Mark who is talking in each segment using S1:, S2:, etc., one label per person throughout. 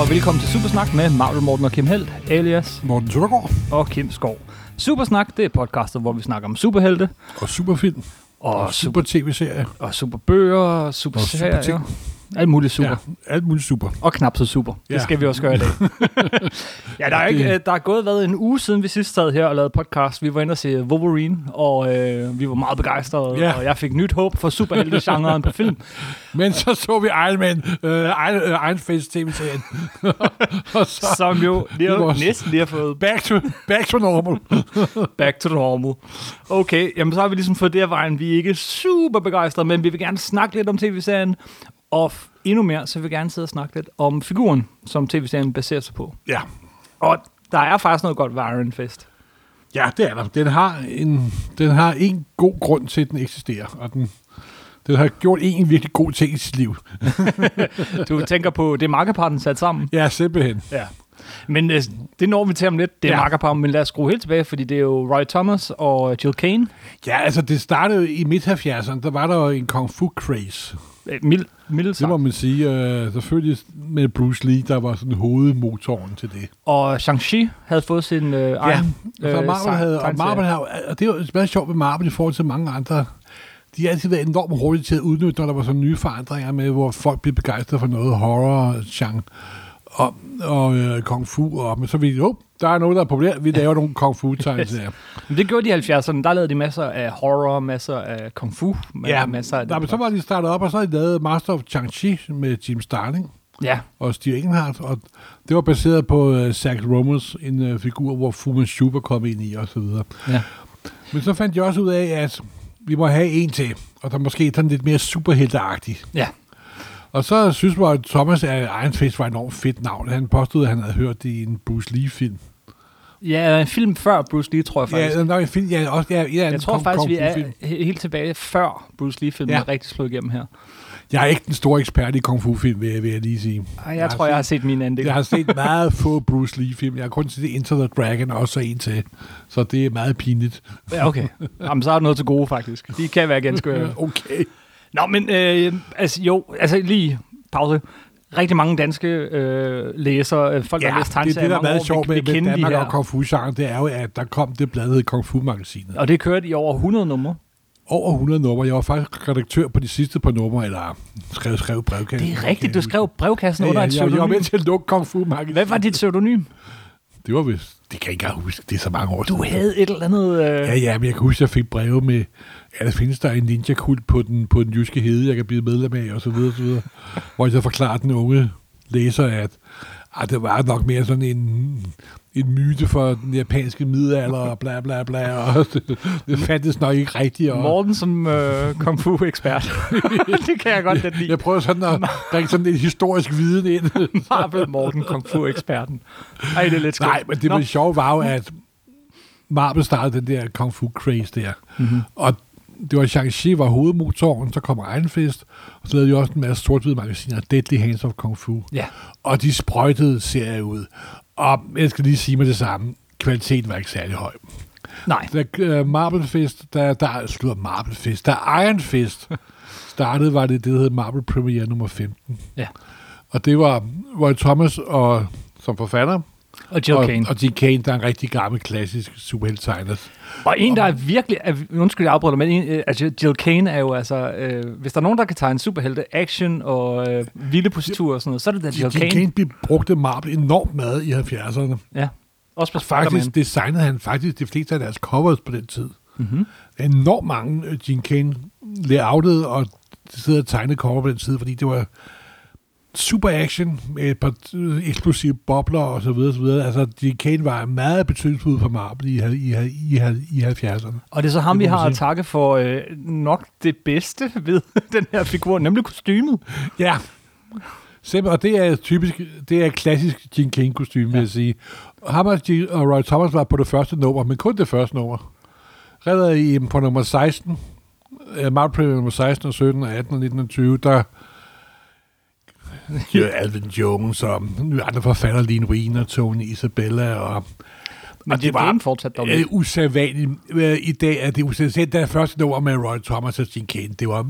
S1: og velkommen til Supersnak med Marvel Morten og Kim Held, alias
S2: Morten Søndergaard
S1: og Kim Skov. Supersnak, det er podcastet, hvor vi snakker om superhelte
S2: og Superfilm
S1: og,
S2: og Super TV-serie.
S1: og superbøger og superserier.
S2: superting.
S1: alt muligt super.
S2: Ja, alt muligt super.
S1: Og knap så super. Ja.
S2: Ja.
S1: Det skal vi også gøre i dag. ja, der er, ikke, øh, der er gået været en uge siden, vi sidst sad her og lavede podcast. Vi var inde og se Wolverine, og øh, vi var meget begejstrede,
S2: Ja.
S1: og jeg fik nyt håb for superhelte-genren på film.
S2: Men så så vi Iron Man, øh, Iron, øh, Iron Face TV-serien. og så
S1: Som jo lige,
S2: Det var også-
S1: næsten lige har fået
S2: back to, back to normal.
S1: Back to normal. Okay, jamen så har vi ligesom fået det af vejen. Vi er ikke super begejstrede, men vi vil gerne snakke lidt om tv-serien. Og f- endnu mere, så vil vi gerne sidde og snakke lidt om figuren, som tv-serien baserer sig på.
S2: ja.
S1: Og der er faktisk noget godt ved Iron Fist.
S2: ja, det er der. Den har, en, den har en god grund til, at den eksisterer. Og den, den har gjort en virkelig god ting i sit liv.
S1: Du tænker på, det er makkerparten sat sammen.
S2: Ja, simpelthen.
S1: Ja. Men øh, det når vi til om lidt, det er ja.
S2: Ja.
S1: makkerparten, men lad os skrue helt tilbage, fordi det er jo Roy Thomas og Jill Kane.
S2: Ja, altså det startede i midt-70'erne. Der var der jo en kung fu craze.
S1: Øh, mild, mild
S2: Det må man sige. Øh, selvfølgelig med Bruce Lee, der var sådan hovedmotoren til det.
S1: Og Shang-Chi havde fået sin øh, egen...
S2: Ja, for altså, Marvel
S1: sej-
S2: havde, og
S1: tegneserie.
S2: Marvel havde, og det er jo meget sjovt med Marvel i forhold til mange andre. De har altid været enormt hurtige til at udnytte, når der var sådan nye forandringer med, hvor folk blev begejstret for noget horror, genre og, og øh, kung fu, og men så vi, oh, der er noget, der er populært, vi laver nogle kung fu tegneserier.
S1: Men det gjorde de i 70'erne. Der lavede de masser af horror, masser af kung fu. Ja, masser af
S2: der, men så var de startet op, og så havde de lavet Master of Chang-Chi med Jim Starling
S1: Ja,
S2: og Steve Englehart, og det var baseret på øh, Zack Romers, en øh, figur, hvor Fu Manchu var kommet ind i, og så videre.
S1: ja.
S2: Men så fandt jeg også ud af, at vi må have en til, og der måske sådan lidt mere superhelteagtig.
S1: ja.
S2: Og så synes jeg, at Thomas af Iron Fist var et enormt fedt navn. Han påstod, at han havde hørt det i en Bruce Lee-film.
S1: Ja, en film før Bruce Lee, tror jeg faktisk.
S2: Ja,
S1: Ja,
S2: nok en film, ja, også, ja, ja,
S1: jeg tror faktisk, vi er he- helt tilbage før Bruce Lee-filmen ja.
S2: Ja.
S1: er rigtig slået igennem her.
S2: Jeg er ikke den store ekspert i kung fu-film, vil jeg, vil jeg lige sige.
S1: Ej, jeg tror, jeg har
S2: har
S1: set min andel.
S2: set, jeg har set meget få Bruce Lee-film. Jeg har kun set Enter the Dragon, og også en til. Så det er meget pinligt.
S1: Ja, okay. Jamen, så har du noget til gode, faktisk. De kan være ganske... øh.
S2: Okay.
S1: Nå, men øh, altså, jo, altså lige pause. Rigtig mange danske øh, læsere, øh, folk, der har læst
S2: det er
S1: tegneserier i
S2: det, der er
S1: mange
S2: meget
S1: år,
S2: sjovt
S1: vil-
S2: med,
S1: vil
S2: med
S1: kende de
S2: Danmark
S1: her.
S2: og Kung fu genren det er jo, at der kom det blad, der hed Kung Fu-magasinet.
S1: Og det kørte i over 100 numre.
S2: over 100 numre. Jeg var faktisk redaktør på de sidste par numre, eller skrev, skrev brevkassen.
S1: Det er rigtigt, du skrev brevkassen
S2: ja,
S1: under
S2: ja,
S1: et
S2: jeg, jeg var
S1: pseudonym.
S2: med til at lukke Kung Fu Market.
S1: Hvad var dit pseudonym?
S2: Det var vist, det kan jeg ikke engang huske, det er så mange år
S1: Du havde et eller andet... Øh...
S2: Ja, ja, men jeg kan huske, at jeg fik breve med, ja, der findes der en ninja-kult på den, på den jyske hede, jeg kan blive medlem af, og så videre, og så videre. Hvor jeg så forklarer den unge læser, at ah, det var nok mere sådan en, en myte for den japanske middelalder, og bla bla bla, og det, det fandtes nok ikke rigtigt. Og,
S1: Morten som øh, kung fu ekspert. det kan jeg godt lidt lide.
S2: Jeg prøver sådan at bringe sådan lidt historisk viden ind.
S1: Marvel Morten kung fu eksperten. Ej, det er lidt skønt.
S2: Nej, men det,
S1: Nå,
S2: det sjove var jo, at Marvel startede den der kung fu craze der.
S1: Mhm.
S2: Mm-hmm. Og det var Shang-Chi var hovedmotoren, så kom Iron Fist, og så lavede de også en masse sort magasiner, Deadly Hands of Kung Fu.
S1: Ja.
S2: Og de sprøjtede serier ud. Og jeg skal lige sige med det samme, kvaliteten var ikke særlig høj.
S1: Nej.
S2: Da øh, Marble Fist, der, der slutter Marble Fist, da Iron Fist startede, var det det, der hed Marble Premiere nummer 15.
S1: Ja.
S2: Og det var Roy Thomas og, som forfatter,
S1: Og Jill
S2: og,
S1: Kane.
S2: Og Jim Kane, der er en rigtig gammel, klassisk superheltegner.
S1: Og en, der er virkelig... Er, undskyld, jeg afbryder dig, men en, øh, altså, Jill Kane er jo altså... Øh, hvis der er nogen, der kan tage en superhelte action og øh, vilde positur og sådan noget, så er det da Jill
S2: Jim
S1: Kane.
S2: Kane blev brugt af Marvel enormt meget i 70'erne.
S1: Ja. Også på Spider-Man.
S2: Faktisk designede han faktisk de fleste af deres covers på den tid.
S1: Mhm.
S2: Mm-hmm. Enormt mange øh, Jim Kane layoutede og sidder og tegnede cover på den tid, fordi det var super action med et par øh, eksplosive bobler og så videre, så videre. Altså, Jim Kane var meget betydningsfuld for Marvel i, i, i, i, i 70'erne.
S1: Og det er så ham,
S2: Det
S1: vi
S2: må man
S1: har at
S2: sige.
S1: takke for øh, nok det bedste ved den her figur, nemlig kostymet.
S2: Ja. Simpelthen, og det er typisk, det er et klassisk Gene Kane kostume, ja. vil jeg sige. Ham og, Gene, og Roy Thomas var på det første nummer, men kun det første nummer. Redder i på nummer 16, øh, Marvel Premiere nummer 16 og 17 og 18 og 19 og 20, der jo, Alvin Jones og nu andre forfatter, Lean Wien og Tony Isabella og
S1: Men
S2: og
S1: Jill Kane fortsatte dog
S2: Altså, øh, usædvanligt. Øh, I dag er det usædvanligt. Selv det første nummer med Roy Thomas og Gene Kane, det var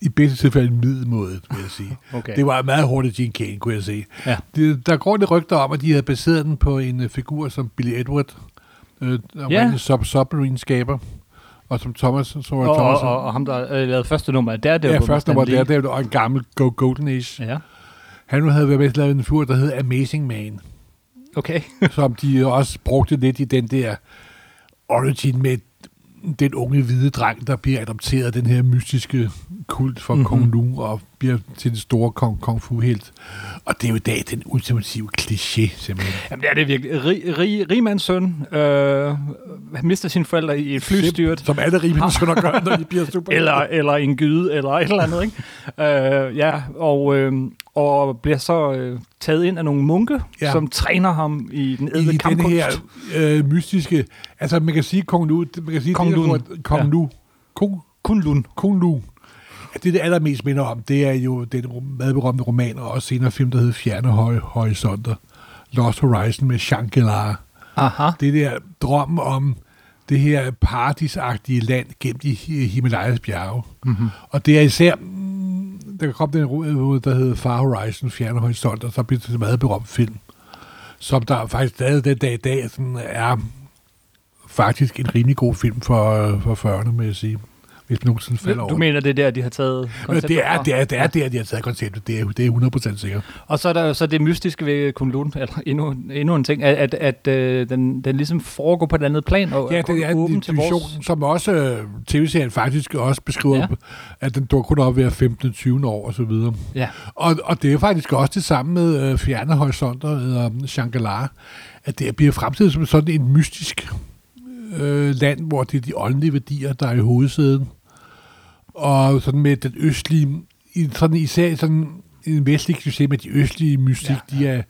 S2: i bedste tilfælde middelmådet, vil jeg sige.
S1: Okay.
S2: Det var meget hurtigt Gene Kane, kunne jeg se.
S1: Ja.
S2: Det, der går lidt rygter om, at de havde baseret den på en øh, figur som Billy Edward, øh,
S1: Ja.
S2: yeah. sub submarine skaber, og som Thomas, som var
S1: Og, og,
S2: Thomas,
S1: og, og ham, der øh, lavede første nummer af Daredevil.
S2: ja,
S1: med
S2: første
S1: Stan
S2: nummer
S1: Lee.
S2: der, der var en gammel Go Golden Age.
S1: Ja,
S2: Han havde været med til at lave en figur, der hed Amazing Man,
S1: okay.
S2: som de også brugte lidt i den der origin med den unge hvide dreng, der bliver adopteret af den her mystiske kult
S1: Mhm.
S2: fra mm-hmm. Kong Lu og bliver til den store Kong, Kung Fu-helt. Og det er jo i dag den ultimative kliché, simpelthen.
S1: Jamen, det er det virkelig. Rig, rig, rigmands søn øh, mister sine forældre i et flystyrt.
S2: Som alle rimelig sønder gør, når de bliver super.
S1: Eller, eller en gyde, eller et eller andet, ikke? Øh, ja, og, øh, og bliver så øh, taget ind af nogle munke, ja.
S2: Ja.
S1: som træner ham i den ædle
S2: i den
S1: kampkunst.
S2: her øh, mystiske... Altså, man kan sige Kong Lu... det- Man kan sige,
S1: Kong
S2: det,
S1: Lun.
S2: der- Kong
S1: Ja.
S2: Lu. Kong,
S1: Kun Lund.
S2: Kung Lu. Det, det allermest minder om, det er jo den rum- meget berømte roman, og også senere film, der hedder Fjerne Høj Horisonter. Lost Horizon med Shangri-La.
S1: Aha.
S2: Det der drøm om det her paradisagtige land gennem de hi- Himalayas bjerge. Mm-hmm. Og det er især, mm, der kom den ro- der hedder Far Horizon, Fjerne Horisonter, som blev til en meget berømt film, som der faktisk stadig den dag i dag sådan er faktisk en rimelig god film for, for 40'erne, må jeg sige. Hvis man nogensinde falder over
S1: Du
S2: den.
S1: mener, det er der, de har taget
S2: Øh,
S1: konceptet
S2: Det er,
S1: fra?
S2: det er, det er der, de har taget konceptet. Det er, det er 100% sikkert.
S1: Og så er der jo så det mystiske ved Kun Lund, eller endnu, endnu en ting, at, at, at øh, den, den ligesom foregår på et andet plan, og
S2: Ja,
S1: kun
S2: det er en
S1: åben til
S2: dimension,
S1: vores...
S2: som også øh, tv-serien faktisk også beskriver,
S1: Ja.
S2: ja. at den dukker kun op ved 15-20 år og så videre.
S1: Ja.
S2: Og, og det er faktisk også det samme med øh, Fjerne Horisonter eller øh, Shangri-La, at det bliver fremstillet som sådan et mystisk øh, land, hvor det er de åndelige værdier, der er i hovedsæden. Og sådan med den østlige, i, sådan især sådan en vestlig kliché med de østlige mystik,
S1: Ja,
S2: ja, ja. de er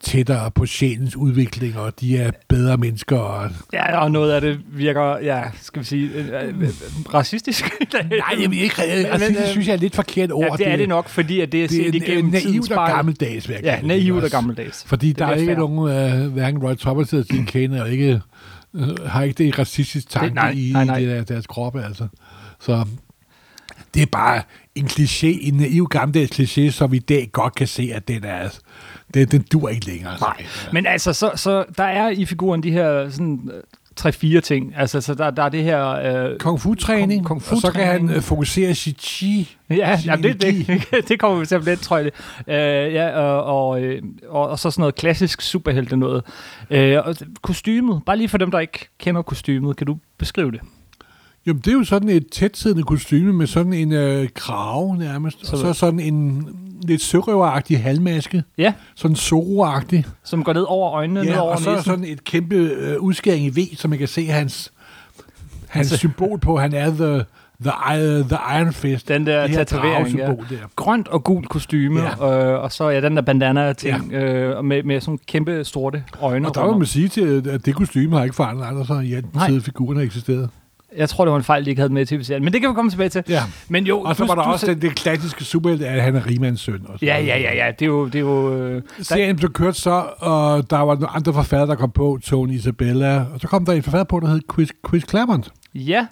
S2: tættere på sjælens udvikling, og de er bedre mennesker. Og...
S1: ja, og noget af det virker, ja, skal vi sige, øh, øh, øh, racistisk.
S2: Nej, jeg vil ikke
S1: Men,
S2: altså,
S1: men, øh,
S2: det synes jeg er lidt forkert ord.
S1: Ja, det er det nok, fordi at det er set
S2: Det er
S1: igennem tidens
S2: naivt og
S1: spejl.
S2: gammeldags, vil jeg
S1: Ja,
S2: kalde det,
S1: naivt
S2: ikke
S1: og
S2: også?
S1: gammeldags.
S2: Fordi
S1: Det
S2: der er
S1: bliver
S2: ikke
S1: fair.
S2: nogen, øh, hverken Roy Thomas eller Gene Kane, og ikke, øh, har ikke det racistisk tanke
S1: Det- nej,
S2: i,
S1: nej, nej.
S2: i det der, deres kroppe, altså. Så det er bare en kliché, en naiv gammeldags kliché, som vi i dag godt kan se, at den er, altså. den, den dur ikke længere. altså.
S1: Nej. Men altså, så, så der er i figuren de her sådan øh, tre-fire ting. Altså, så der, der er det her... Øh,
S2: Kung fu-træning,
S1: Kung- kung fu
S2: og så kan han
S1: træning.
S2: øh, fokusere sit chi.
S1: ja,
S2: sin
S1: jamen, det,
S2: energi.
S1: det, det kommer vi til at lidt, tror jeg. Øh, ja, og, og, øh, og, og så sådan noget klassisk superhelte noget. Øh, og kostymet, bare lige for dem, der ikke kender kostymet, kan du beskrive det?
S2: Jamen, det er jo sådan et tætsiddende kostyme med sådan en øh, krave nærmest, så, og
S1: Så-
S2: så sådan en lidt sørøveragtig halvmaske,
S1: Ja,
S2: sådan zoroagtig.
S1: som går ned over øjnene, ja, ned
S2: Ja,
S1: over
S2: og så er der
S1: næsen.
S2: sådan et kæmpe øh, udskæring i V, som man kan se hans, hans
S1: Altså-
S2: symbol på. Han er the, the, i- the Iron Fist.
S1: Den der
S2: det her
S1: tatovering, ja.
S2: dragesymbol der.
S1: grønt og gul kostyme, ja. øh, og så ja, den der bandana-ting, ja. øh, og med, med sådan kæmpe sorte øjne.
S2: Og der
S1: rundt
S2: må
S1: om.
S2: man sige, til, at det kostyme har ikke forandret sig, ja,
S1: Nej.
S2: siden figuren har eksisteret.
S1: Jeg tror, det var en fejl, de ikke havde med i tv-serien, men det kan vi komme tilbage til.
S2: Ja.
S1: Men jo,
S2: Og så
S1: du-
S2: var der
S1: du
S2: også
S1: selv-
S2: den, det klassiske superhelte, at han er rimands søn. og så-
S1: Ja, ja, ja, ja, det er jo... Det er jo øh, der,
S2: Serien blev kørt så, og der var nogle andre forfattere, der kom på, Tony Isabella, og så kom der en forfatter på, der hed Chris, Chris Claremont.
S1: ja,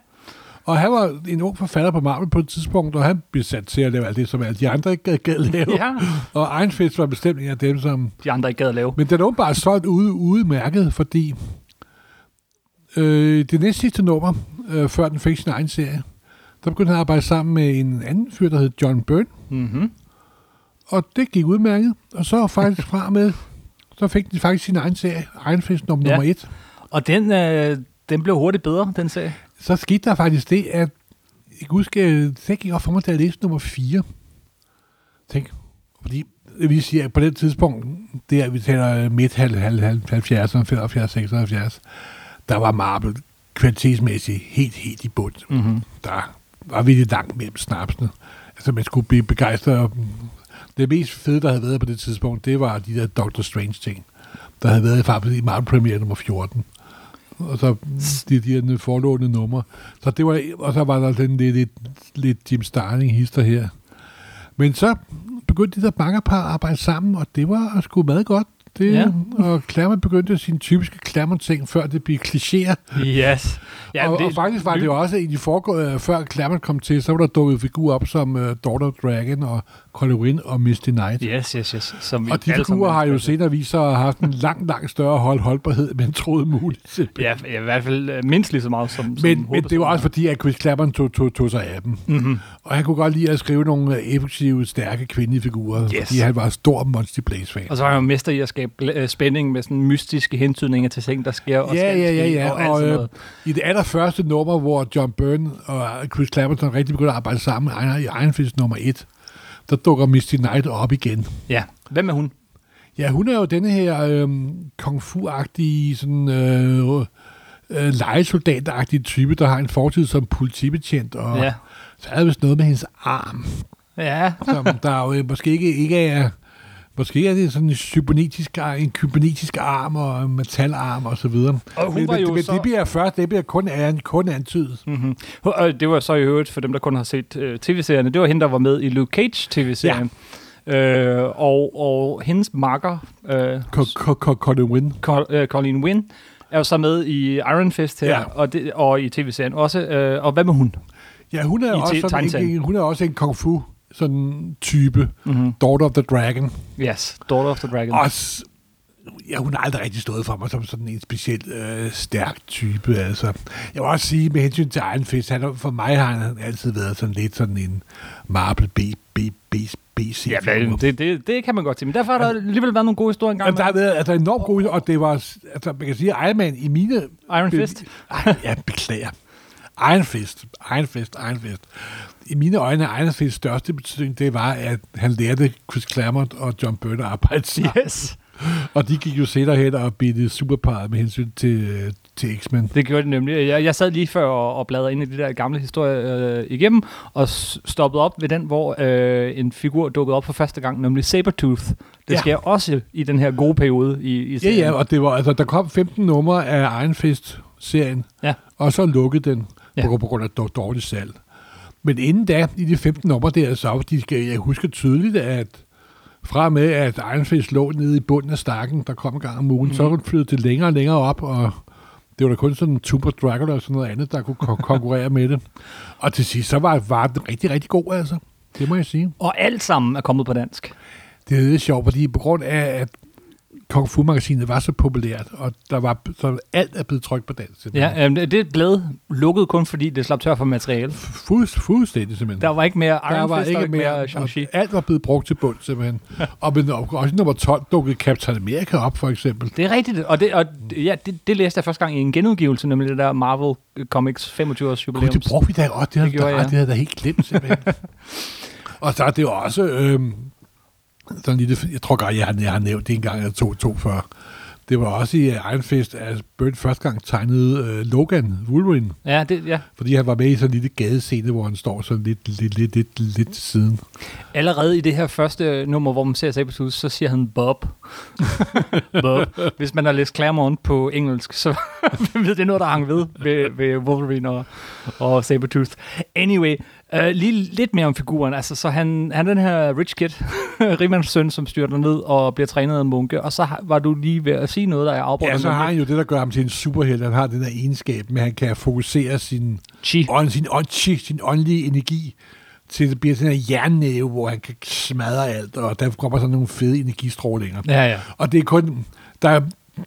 S2: Og han var en ung forfatter på Marvel på et tidspunkt, og han blev sat til at lave alt det, som alle de andre ikke gad- gad lave.
S1: ja,
S2: Og Einsfest var bestemt en af dem, som...
S1: de andre ikke gad at lave.
S2: Men den er åbenbart solgt ude, ude mærket, fordi øh, det næste sidste nummer, øh, før den fik sin egen serie, der begyndte han at arbejde sammen med en anden fyr, der hed John Byrne,
S1: Mm-hmm.
S2: og det gik udmærket, og så faktisk fra og med, så fik de faktisk sin egen serie, Einsfest nummer,
S1: Ja.
S2: ja. nummer et.
S1: Og den, øh, den blev hurtigt bedre, den serie.
S2: Så skete der faktisk det, at jeg kan huske, øh, det gik op for mig, da jeg læste nummer 4. Tænk, fordi det vil sige, at på det tidspunkt, der vi taler øh, midt halv, halv, halv, 70'erne, 75, 76, der var Marvel kvalitetsmæssigt helt, helt i bund.
S1: Mm-hmm.
S2: Der var virkelig langt mellem snapsene. Altså, man skulle blive begejstret. Det mest fede, der havde været på det tidspunkt, det var de der Doctor Strange-ting, der havde været i faktisk i Marvel Premiere nummer 14. Og så de, de her forlående numre. Så det var, og så var der den lidt, lidt, lidt Jim Starling hister her. Men så begyndte de der bankerpar at arbejde sammen, og det var sgu meget godt. Det,
S1: Ja.
S2: ja. Og Klammer begyndte sin typiske Klammer-ting, før det blev klichéer.
S1: Yes. Ja,
S2: Ja, og,
S1: det-
S2: det, og faktisk var det jo også i de foregående, øh, før Claremont kom til, så var der dukket figurer op som uh, Daughter of Dragon og Colin og Misty Knight. Ja,
S1: Yes, yes, yes. Som vi
S2: og de
S1: alle sammen
S2: figurer har jo
S1: elsker.
S2: senere vist sig at have haft en langt, langt større hold holdbarhed, men troede muligt.
S1: Ja, ja, i hvert fald øh, mindst lige så meget som som
S2: Men, men det var også fordi, at Chris Claremont tog, tog, tog sig af dem. Mm-hmm. Og han kunne godt lide at skrive nogle øh, effektive, stærke kvindelige figurer,
S1: Yes.
S2: yes. fordi han var stor Monty Blaze-fan.
S1: Og så var han jo mester i at skabe bl- øh, spænding med sådan mystiske hentydninger til ting, der sker og
S2: Ja,
S1: skal
S2: ja, ja,
S1: ske
S2: ja.
S1: og alt
S2: Og,
S1: sådan
S2: øh,
S1: noget.
S2: i det allerførste nummer, hvor John Byrne og Chris Clapperton rigtig begyndte at arbejde sammen i Iron- i Iron Fist nummer 1, der dukker Misty Knight op igen.
S1: Ja. Hvem er hun?
S2: Ja, hun er jo denne her øh, kung fu-agtige, sådan, øh, øh, legesoldat-agtige type, der har en fortid som politibetjent, og
S1: Ja.
S2: ja. så er der vist noget med hendes arm,
S1: Ja.
S2: som der jo øh, måske ikke, ikke er... Måske er det sådan en kybernetisk, en kybernetisk arm og en metalarm og så videre.
S1: Og hun
S2: men,
S1: var
S2: men,
S1: jo
S2: men
S1: så-
S2: det bliver først, det bliver kun, an, kun antydet.
S1: Mm-hmm. Og det var så i øvrigt, for dem, der kun har set øh, tv-serierne, det var hende, der var med i Luke Cage-tv-serien. Ja. Øh, og, og hendes makker, øh,
S2: Ko- ko- ko- Colin Wynn.
S1: Col- øh, Colleen Wynn, er jo så med i Iron Fist her, ja.
S2: Ja.
S1: og, det, og i tv-serien også. Øh, og hvad med hun?
S2: Ja, hun er,
S1: I te-
S2: også sådan, en,
S1: tegneserien.
S2: en- hun er også en kung fu sådan type.
S1: Mm-hmm.
S2: Daughter of the Dragon.
S1: Yes, Daughter of the Dragon.
S2: Også, ja, hun har aldrig rigtig stået for mig som sådan en speciel øh, stærk type. Altså. Jeg vil også sige, med hensyn til Iron Fist, han, er- for mig har han altid været sådan lidt sådan en Marble B, B, B, B, C.
S1: Ja, men det, det, det kan man godt sige. Men derfor har der alligevel været nogle gode historier engang.
S2: Jamen, der
S1: med
S2: har været altså, enormt gode, og det var, altså, man kan sige, Iron Man i mine
S1: Iron Fist.
S2: Ej, jeg beklager. Iron Fist, Iron Fist, Iron Fist. I mine øjne er Iron Fists største betydning, det var, at han lærte Chris Claremont og John Byrne at arbejde sammen.
S1: Yes.
S2: Og de gik jo senere hen og blev det superparet med hensyn til, øh, til X-Men.
S1: Det gjorde det nemlig. Jeg, jeg sad lige før og, og bladrede ind i de der gamle historier øh, igennem, og s- stoppede op ved den, hvor øh, en figur dukkede op for første gang, nemlig Sabertooth. Det ja.
S2: Ja.
S1: sker også i den her gode periode i, i
S2: Ja,
S1: serien.
S2: ja, og det var, altså, der kom 15 numre af Iron Fist-serien,
S1: Ja.
S2: og så lukkede den
S1: Ja.
S2: ja. på, grund- på grund af dår- dårligt salg. Men inden da, i de 15 numre der, så de skal, jeg husker tydeligt, at fra og med, at Iron Fist lå nede i bunden af stakken, der kom en gang om ugen, mm. så flyttede det længere og længere op, og det var da kun sådan Super Dracula og sådan noget andet, der kunne kon- konkurrere med det. Og til sidst, så var, var den rigtig, rigtig god, altså. Det må jeg sige.
S1: Og alt sammen er kommet på dansk.
S2: Det er lidt sjovt, fordi på grund af, at Kung Fu-magasinet var så populært, og der var, så alt er blevet trykt på dansk. simpelthen.
S1: Ja, øh, det det blev lukket kun fordi det slap tør for materiale.
S2: Fu- fuldstændig simpelthen.
S1: Der var ikke mere Iron
S2: der var
S1: Fist,
S2: ikke
S1: og
S2: mere,
S1: Shang-Chi.
S2: og alt var blevet brugt til bund, simpelthen. og men også nummer 12 dukkede Captain America op, for eksempel.
S1: Det er rigtigt, og, det, og ja, det, det læste jeg første gang i en genudgivelse, nemlig det der Marvel Comics 25-års
S2: Gud,
S1: jubilæum.
S2: det brugte vi da også. Det, det,
S1: gjorde
S2: gjorde,
S1: jeg.
S2: det havde jeg da helt glemt, simpelthen. og så er det jo også... Øh, sådan lille, jeg tror godt, jeg, har- jeg har nævnt det en gang eller to, to før. Det var også i Iron Fist, at Byrne første gang tegnede øh, Logan, Wolverine.
S1: Ja, det, ja.
S2: Fordi han var med i sådan en lille gadescene, hvor han står sådan lidt, lidt, lidt, lidt, lidt til siden.
S1: Allerede i det her første nummer, hvor man ser Sabertooth, så siger han Bob. Bob. Hvis man har læst Claremont på engelsk, så ved det noget, der hang ved ved, ved Wolverine og, og Sabertooth. Anyway, øh, lige lidt mere om figuren. Altså, så han, han er den her rich kid, rigmands søn, som styrter ned og bliver trænet af en munke. Og så har, var du lige ved at sige noget, der er afbrudt.
S2: Ja, så har han jo det, der gør ham til en superhelt. Han har den der egenskab med, at han kan fokusere sin,
S1: Chi.
S2: ånd, sin, ånd, chi, sin åndelige energi til det bliver sådan en jernnæve, hvor han kan smadre alt, og der kommer sådan nogle fede energistrålinger.
S1: Ja, ja.
S2: Og det er kun... Der er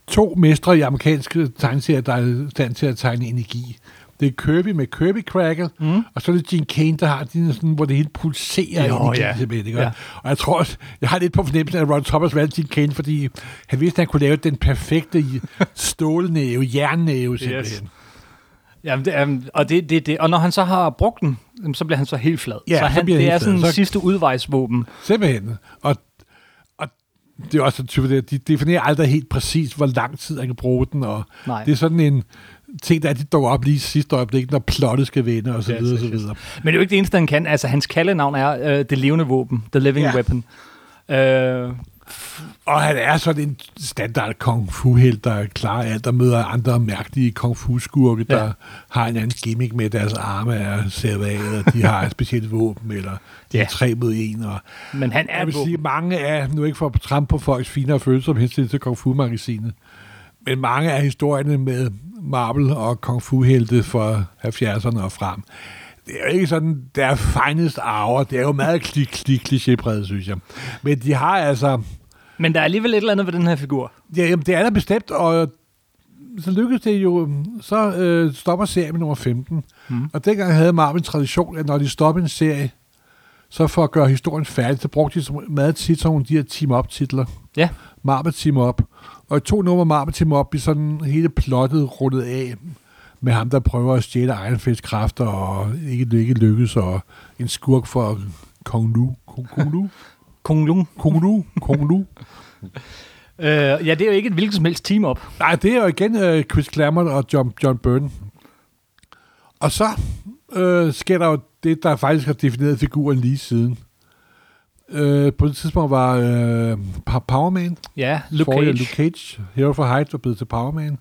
S2: to mestre i amerikanske tegneserier, der er i stand til at tegne energi. Det er Kirby med Kirby Crackle, mm. og så er det Gene Kane, der har den sådan, hvor det hele pulserer
S1: Jo,
S2: jo, energi,
S1: ja.
S2: ja. simpelthen. Ikke?
S1: Ja.
S2: Ja. Og jeg tror også, jeg har lidt på fornemmelsen, at Ron Thomas valgte Gene Kane, fordi han vidste, at han kunne lave den perfekte stålnæve, jernnæve, simpelthen. Yes.
S1: Jamen, det, um, og, det, det, det, og når han så har brugt den, jamen, så bliver han så helt flad.
S2: Ja,
S1: så
S2: så
S1: han,
S2: bliver
S1: det
S2: han
S1: er
S2: helt flad.
S1: sådan en
S2: Så-
S1: sidste udvejsvåben.
S2: Simpelthen. Og, og det er også en type, der, de definerer aldrig helt præcis, hvor lang tid han kan bruge den, og
S1: Nej.
S2: det er sådan en ting, der er, de dukker op lige i sidste øjeblik, når plottet skal vende, og så
S1: Yes,
S2: videre, og
S1: yes,
S2: så
S1: yes.
S2: videre.
S1: Men det er jo ikke det eneste, han kan. Altså, hans kaldenavn er øh, Det Levende Våben, The Living ja.
S2: Ja.
S1: Weapon. Øh,
S2: Og han er sådan en standard kung fu helt der klarer alt, der møder andre mærkelige kung fu skurke,
S1: Ja.
S2: ja. der har en anden gimmick med, at deres arme er sævet af, eller de har et specielt våben, eller de
S1: Ja.
S2: er tre mod en, og
S1: men han er
S2: jeg
S1: et
S2: vil
S1: våben.
S2: sige, mange af, nu ikke for at trampe på folks finere følelser om hensyn til Kung Fu-magasinet, men mange af historierne med Marvel og Kung Fu-helte fra 70'erne og frem. Det er jo ikke sådan, der er finest hour. Det er jo meget klik, klik, klichépræget, synes jeg. Men de har altså...
S1: Men der er alligevel et eller andet ved den her figur.
S2: Ja, jamen, det er der bestemt, og så lykkedes det jo, så øh, stopper serien med nummer 15. Mm. Og dengang havde Marvel en tradition, at når de stoppede en serie, så for at gøre historien færdig, så brugte de som- meget tit sådan nogle af de her team-up-titler.
S1: Ja.
S2: Marvel Team Up. Og i to numre Marvel Team Up bliver sådan hele plottet rundet af med ham, der prøver at stjæle Ironfists kræfter og ikke, ikke lykkes, og en skurk for Kong Nu. Kong Kong Nu?
S1: Kung Lung.
S2: Kong Nu? Kong Nu?
S1: Øh, ja, det er jo ikke et hvilket som helst team-up.
S2: Nej, det er jo igen øh, Chris Claremont og John, John Byrne. Og så øh, sker der jo det, der faktisk har defineret figuren lige siden. Øh, på det tidspunkt var øh, Pa- Powerman,
S1: Ja, Luke Cage.
S2: forrige Luke Cage, Hero for Height, var blevet til Powerman.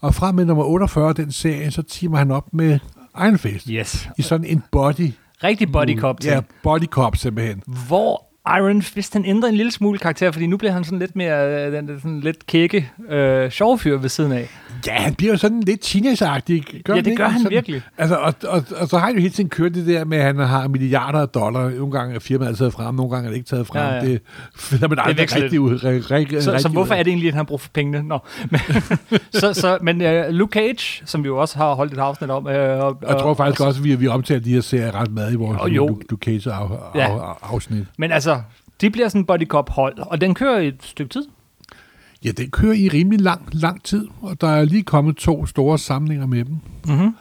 S2: Og fra med nummer 48 af den serie, så timer han op med Iron Fist.
S1: Yes.
S2: I sådan en body.
S1: Rigtig body cop ting.
S2: Mm, Ja, body cop simpelthen.
S1: Hvor Iron Fist, han ændrer en lille smule karakter, fordi nu bliver han sådan lidt mere, øh, den der sådan lidt kække, øh, sjov fyr ved siden af.
S2: Ja, han bliver jo sådan lidt teenageagtig. Gør
S1: ja, det
S2: ikke?
S1: gør han
S2: sådan,
S1: virkelig.
S2: Altså, og, og, og, så har han jo hele tiden kørt det der med, at han har milliarder af dollar. Nogle gange er firmaet taget frem, nogle gange er det ikke taget frem.
S1: Ja,
S2: Ja,
S1: ja.
S2: ja. Det finder man aldrig
S1: veksler
S2: rigtig ud. Re, re,
S1: Så,
S2: rigtig
S1: så hvorfor
S2: ud.
S1: er det egentlig, at han har brug for pengene? Nå. Men, så, så, men uh, Luke Cage, som vi jo også har holdt et afsnit om. Uh, og,
S2: Jeg tror faktisk også, at vi, vi omtaler de her serier ret meget i vores
S1: Jo, jo.
S2: Luke, Luke Cage af, af,
S1: Ja.
S2: af, afsnit.
S1: Men altså, de bliver sådan body cop hold, og den kører i et stykke tid.
S2: Ja, den kører i rimelig lang, lang tid, og der er lige kommet to store samlinger med dem.
S1: Mm-hmm.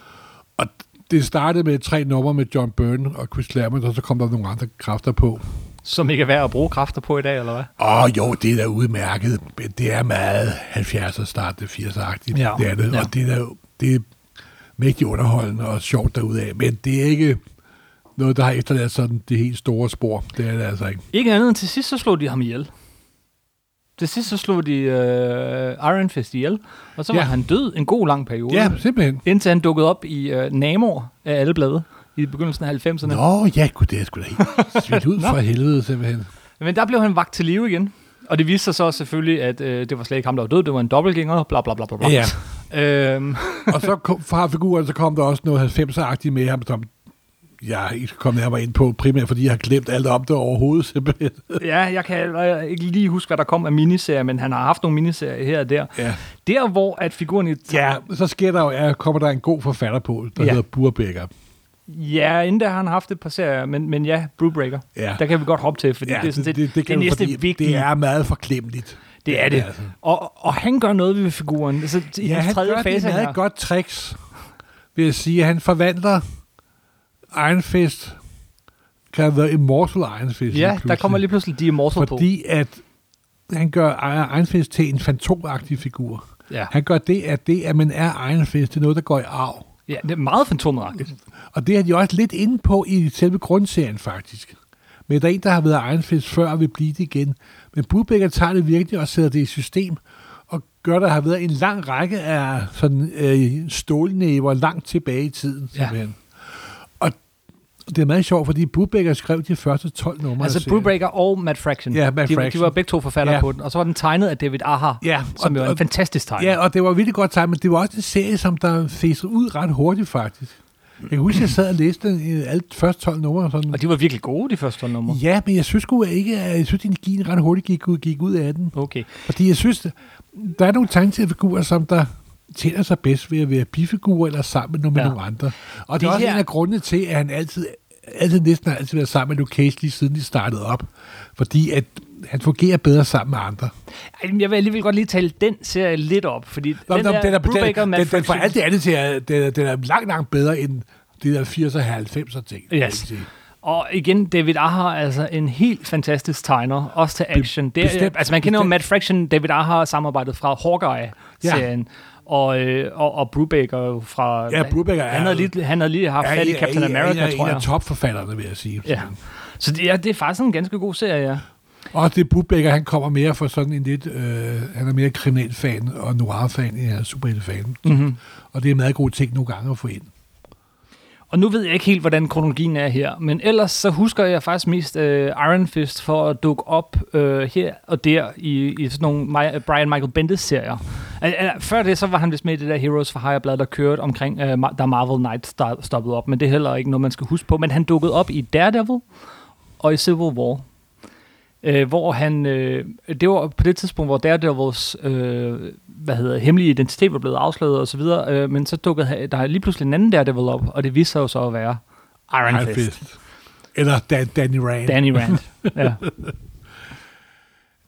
S2: Og det startede med tre numre med John Byrne og Chris Claremont, og så kom der nogle andre kræfter på.
S1: Som ikke er værd at bruge kræfter på i dag, eller hvad?
S2: Åh jo, det er da udmærket, men det er meget 70'er start det 80'er-agtigt.
S1: Ja.
S2: Det er det,
S1: Ja.
S2: og det er, da- det er mægtig underholdende og sjovt derudaf, men det er ikke noget, der har efterladt sådan det helt store spor. Det er det altså ikke.
S1: Ikke andet end til sidst, så slog de ham ihjel. Til sidst, så slog de uh, Iron Fist ihjel, og så var
S2: Ja.
S1: han død en god lang periode.
S2: Ja, simpelthen.
S1: Indtil han dukkede op i uh, Namor af alle blade i begyndelsen af 90'erne.
S2: Nå, ja, gud, det er sgu da helt svidt ud for helvede, simpelthen.
S1: Men der blev han vagt til live igen. Og det viste sig så selvfølgelig, at øh, det var slet ikke ham, der var død. Det var en dobbeltgænger, bla bla bla bla. bla.
S2: Ja.
S1: Øhm,
S2: og så kom, fra figuren, så kom der også noget 90'er-agtigt med ham, som jeg ikke skal komme nærmere ind på, primært fordi jeg har glemt alt om det overhovedet, simpelthen.
S1: ja, jeg kan heller ikke lige huske, hvad der kom af miniserier, men han har haft nogle miniserier her og der.
S2: Ja.
S1: Der, hvor at figuren... i-
S2: Ja, så sker der jo, at kommer der en god forfatter på, der
S1: Ja.
S2: ja. hedder Burbækker.
S1: Ja, inden der har han haft et par serier, men, men ja, Brewbreaker.
S2: Ja.
S1: Der kan vi godt hoppe til, fordi ja, det er sådan set det, det, det,
S2: kan
S1: det
S2: du,
S1: næste
S2: fordi
S1: vigtige.
S2: Det er meget forklemmeligt.
S1: det, er det.
S2: altså.
S1: Og, og han gør noget ved figuren. Altså, i
S2: Ja,
S1: den
S2: han
S1: tredje
S2: gør
S1: fase
S2: det meget
S1: her.
S2: godt tricks, vil jeg sige. Han forvandler Iron Fist, kan The Immortal Iron Fist.
S1: Ja, der kommer
S2: pludselig.
S1: lige pludselig de immortal på.
S2: Fordi at han gør Iron Fist til en fantomagtig figur.
S1: Ja.
S2: Han gør det, at det, at man er Iron Fist, det er noget, der går i arv.
S1: ja, det er meget fantomagtigt.
S2: Og det er de også lidt inde på i selve grundserien, faktisk. Men der er en, der har været Iron Fist før og vil blive det igen. Men Budbækker tager det virkelig og sætter det i system, og gør, der har været en lang række af sådan, øh, stålnæver langt tilbage i tiden.
S1: Ja.
S2: Ja. Og det er meget sjovt, fordi Budbækker skrev de første 12 numre. af
S1: Altså
S2: serien.
S1: Brewbreaker og Matt Fraction.
S2: Ja, Matt
S1: de, De
S2: Fraction.
S1: var begge to forfattere ja.
S2: Ja.
S1: på den. Og så var den tegnet af David Aha,
S2: Ja,
S1: som
S2: og-
S1: jo er en
S2: og-
S1: fantastisk tegner.
S2: Ja, og det var virkelig godt tegnet, men det var også en serie, som der fæsede ud ret hurtigt, faktisk. Jeg kan huske, at jeg sad og læste den, øh, alle de første 12 numre. Sådan.
S1: Og de var virkelig gode, de første numre.
S2: Ja, men jeg synes sgu ikke, at jeg synes, at energien ret hurtigt gik, ud- gik ud af den.
S1: Okay.
S2: Fordi jeg synes, der er nogle tegnetidsfigurer, som der tjener sig bedst ved at være bifigurer eller sammen med, med
S1: Ja.
S2: nogle andre. Og det er
S1: Det
S2: også
S1: her-
S2: en af grundene til, at han altid, altid næsten har altid været sammen med Luke Cage, lige siden de startede op. Fordi at han fungerer bedre sammen med andre.
S1: Ej, men Jeg vil alligevel godt lige tale den serie lidt op, fordi
S2: Nå,
S1: den,
S2: nå,
S1: der,
S2: den, er,
S1: Brubaker,
S2: den,
S1: Matt
S2: den, den for
S1: Fraction,
S2: alt det andet til, at- den, er- den er langt, langt bedre end det der 80'er og 90'er ting. vil jeg
S1: Yes.
S2: sige.
S1: Og igen, David Aha er altså en helt fantastisk tegner, også til action. Det, er,
S2: bestemt,
S1: altså man kender jo
S2: bestemt.
S1: Matt Fraction, David Aha samarbejdet fra Hawkeye-serien. Og, øh, og, og Brubaker jo fra...
S2: Ja, Brubaker er-
S1: han havde lige, han havde lige haft
S2: Er
S1: fat i
S2: en-
S1: Captain
S2: er en-
S1: America,
S2: er en,
S1: tror
S2: En
S1: jeg.
S2: af topforfatterne, vil jeg sige.
S1: Ja. Så det, ja, det er faktisk en ganske god serie, ja.
S2: Og det Budbækker, han kommer mere fra sådan en lidt, øh, han er mere kriminalfan og noir-fan, end han er superheltefan.
S1: Mm-hmm.
S2: Og det er en meget god ting nogle gange at få ind.
S1: Og nu ved jeg ikke helt, hvordan kronologien er her, men ellers så husker jeg faktisk mest øh, Iron Fist for at dukke op øh, her og der i, i sådan nogle Mi- Brian Michael Bendis-serier. Al- al- Før det, så var han vist med i det der Heroes for Hire blad, der kørte omkring, øh, ma- da Marvel Knight sta- stoppede op, men det er heller ikke noget, man skal huske på. Men han dukkede op i Daredevil og i Civil War. Øh, hvor han, øh, det var på det tidspunkt, hvor Daredevils øh, hvad hedder, hemmelige identitet var blevet afsløret og så videre, øh, men så dukkede han- der lige pludselig en anden Daredevil op, og det viste sig jo så at være Iron,
S2: Iron
S1: Fist. Fist.
S2: Fist. Eller Dan, Danny Rand. Dan.
S1: Danny Rand. ja.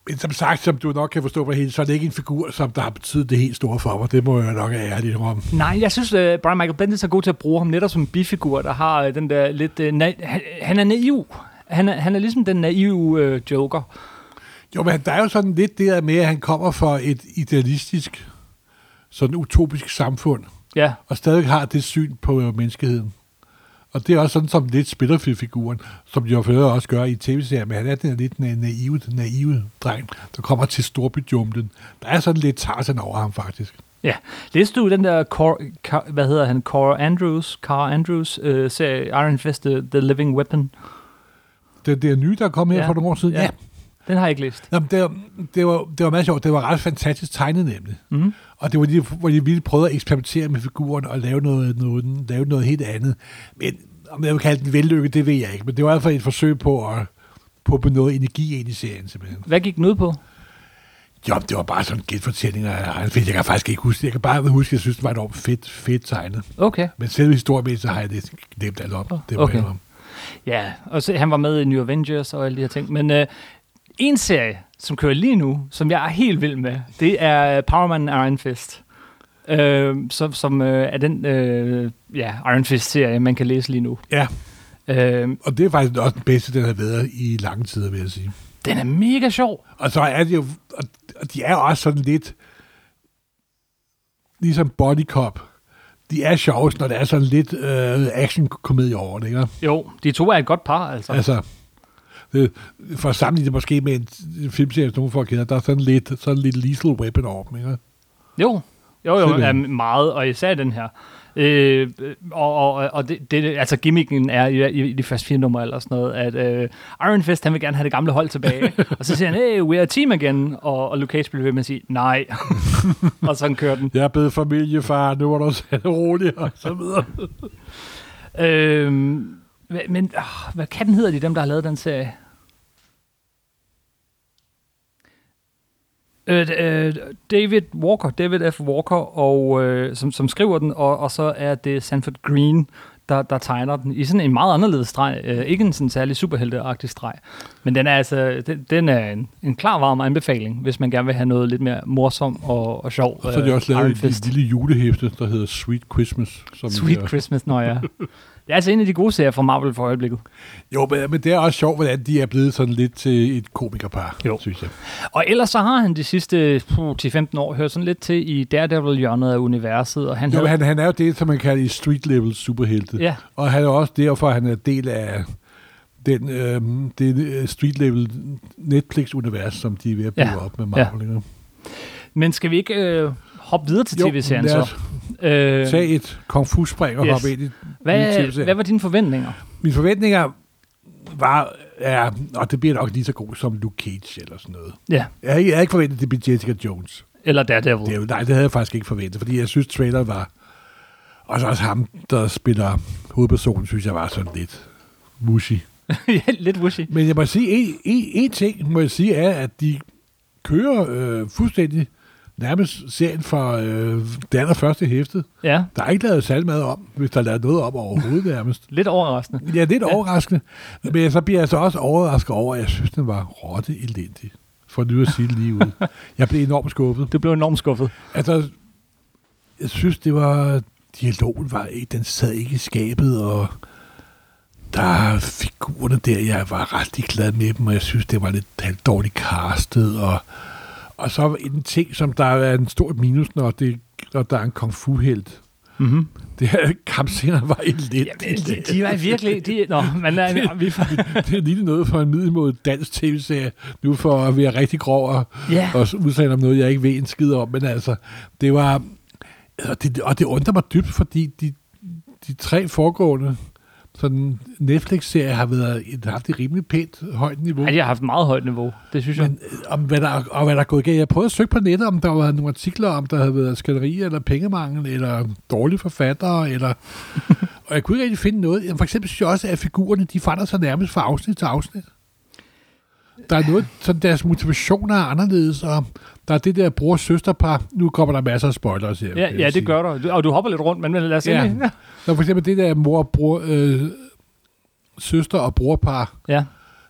S2: Men som sagt, som du nok kan forstå på hele, så er det ikke en figur, som der har betydet det helt store for mig. Det må jeg nok ærligt om.
S1: Nej, jeg synes, uh, Brian Michael Bendis er god til at bruge ham netop som en bifigur, der har øh, den der lidt... Uh, na- han, han er naiv. Han er, han er ligesom den naive øh, joker.
S2: Jo, men der er jo sådan lidt det der med, at han kommer fra et idealistisk, sådan utopisk samfund,
S1: Ja,
S2: og stadig har det syn på øh, menneskeheden. Og det er også sådan som lidt spillerfiguren, som jo for øvrigt også gør i tv-serien, men han er den her lidt na- naive, naive dreng, der kommer til storbyjumlen. Der er sådan lidt Tarzan over ham, faktisk.
S1: ja. Læste du den der, Cor, Cor, hvad hedder han, Cora Andrews, Cara Andrews øh, serie Iron Fist, The, The Living Weapon?
S2: Det, det er nye, der er kommet her
S1: Ja.
S2: for nogle år siden.
S1: Ja.
S2: Ja. ja.
S1: Den har jeg ikke læst.
S2: Jamen, det, det, var, det var meget sjovt. Det var ret fantastisk tegnet, nemlig.
S1: Mm.
S2: Og det var lige, hvor de ville prøve at eksperimentere med figuren og lave noget, noget, lave noget helt andet. Men om jeg vil kalde den vellykket, det ved jeg ikke. Men det var i hvert fald et forsøg på at puppe noget energi ind i serien, simpelthen.
S1: Hvad gik den ud på?
S2: Jo, det var bare sådan genfortællinger. Jeg jeg kan faktisk ikke huske det. Jeg kan bare huske, at jeg synes, det var enormt fedt, fedt tegnet.
S1: Okay.
S2: Men selve historien, så har jeg lidt glemt alt op. Det var
S1: Okay.
S2: okay. om.
S1: Ja, og så, han var med i New Avengers og alle de her ting. Men øh, en serie, som kører lige nu, som jeg er helt vild med, det er Power Man and Iron Fist. Øh, som som øh, er den øh, ja, Iron Fist-serie, man kan læse lige nu.
S2: Ja,
S1: Øh,
S2: og det er faktisk også den bedste, den har været i lange tider, vil jeg sige.
S1: den er mega sjov.
S2: Og så er det jo, og- og de er jo også sådan lidt, ligesom Body Cop. De er sjovest, når der er sådan lidt øh, action-komedie over det, ikke?
S1: Jo, de to er et godt par, altså. altså.
S2: Altså, det, for at sammenligne det måske med en en filmserie, som nogen folk kender, der er sådan lidt, sådan lidt lethal weapon over dem, ikke?
S1: Jo, jo, jo er
S2: Simpelthen.
S1: meget, og især den her. Øh, og og, og det, det, altså gimmicken er i, i de første fire numre eller sådan noget, at øh, Iron Fist, han vil gerne have det gamle hold tilbage. og så siger han, hey, we're a team again. Og, og Luke Cage bliver ved med at sige, nej. og sådan kører den.
S2: Jeg er blevet familiefar, nu var du selv rolig, og så videre.
S1: Øh, men øh, hvad kan den hedder de, dem der har lavet den serie? Øh, øh, David Walker, David F. Walker, og, øh, som, som skriver den, og, og så er det Sanford Green, der, der tegner den i sådan en meget anderledes streg. Øh, ikke en sådan særlig superhelteagtig streg, men den er altså den, den er en, en klar varm anbefaling, hvis man gerne vil have noget lidt mere morsom og, og sjov.
S2: Og så har de
S1: øh,
S2: også lavet
S1: Iron
S2: et lille-
S1: Fist.
S2: lille julehæfte, der hedder Sweet Christmas. Som
S1: Sweet
S2: er-
S1: Christmas, når jeg Det er altså en af de gode serier fra Marvel for øjeblikket.
S2: Jo, men, men det er også sjovt, hvordan de er blevet sådan lidt til et komikerpar,
S1: Jo.
S2: jo. synes jeg.
S1: Og ellers så har han de sidste puh, 10-15 år hørt sådan lidt til i Daredevil-hjørnet af universet, og han
S2: Jo,
S1: havde-
S2: men han, han er jo det, som man kalder i street-level superhelte.
S1: Ja,
S2: Og han er også derfor, han er del af den, øh, den øh, street-level Netflix-univers, som de er ved at bygge
S1: Ja.
S2: ja. op med Marvel. Ja.
S1: men skal vi ikke øh, hoppe videre til tv-serien så? Øh,
S2: tage et kung fu-spring og
S1: Yes.
S2: yes. hoppe ind i
S1: hvad,
S2: tv-serie.
S1: hvad var dine forventninger?
S2: Mine forventninger var, ja, og det bliver nok lige så god som Luke Cage eller sådan noget.
S1: Ja,
S2: Jeg havde ikke, jeg havde ikke forventet, at det blev Jessica Jones.
S1: eller Daredevil.
S2: Det, er jo- nej, det havde jeg faktisk ikke forventet, fordi jeg synes, trailer var... Og så også ham, der spiller hovedpersonen, synes jeg var sådan lidt mushy.
S1: ja, lidt wishy.
S2: Men jeg må sige, en, en, en ting må jeg sige er, at de kører øh, fuldstændig nærmest serien fra øh, det allerførste hæfte.
S1: Ja,
S2: Der er ikke lavet særlig meget om, hvis der er lavet noget om overhovedet nærmest.
S1: lidt overraskende.
S2: Ja, det er lidt overraskende. Men så bliver jeg så også overrasket over, at jeg synes, den var rotte elendig. For nu at sige det lige ud. Jeg blev enormt skuffet.
S1: Du blev enormt skuffet.
S2: Altså, jeg synes, det var... Dialogen var ikke... Den sad ikke i skabet, og der er figurerne der, jeg var ret glad med dem, og jeg synes, det var lidt halvdårligt castet, og, og så en ting, som der er en stor minus, når, det, når der er en kung fu helt
S1: Mm-hmm.
S2: det her kampscener var ikke lidt.
S1: Jamen, de, de var virkelig... De, nå, men er, vi,
S2: det er lige noget for en middelmåde dansk tv-serie, nu for at være rigtig grov og,
S1: ja,
S2: og udtale om noget, jeg ikke ved en skid om, men altså, det var, og det, og det undrer mig dybt, fordi de, de tre foregående sådan Netflix-serie har været, et- haft et rimelig pænt højt niveau.
S1: Ja, de har haft meget højt niveau, det synes jeg.
S2: Men øh, om hvad der, og hvad der er gået galt. Jeg prøvede at søge på nettet, om der var nogle artikler, om der havde været skænderier, eller pengemangel, eller dårlige forfattere, eller... og jeg kunne ikke rigtig finde noget. Jamen, For eksempel synes jeg også, at figurerne, de forandrer sig nærmest fra afsnit til afsnit. Der er noget, sådan deres motivationer er anderledes, og der er det der bror-søsterpar. Nu kommer der masser af spoilers her.
S1: Ja,
S2: vil jeg
S1: ja,
S2: sige.
S1: det gør du. Du- Og du hopper lidt rundt, men men lad os se.
S2: Ja.
S1: Ja.
S2: Der er for eksempel det der mor, bror, øh, søster og brorpar,
S1: ja.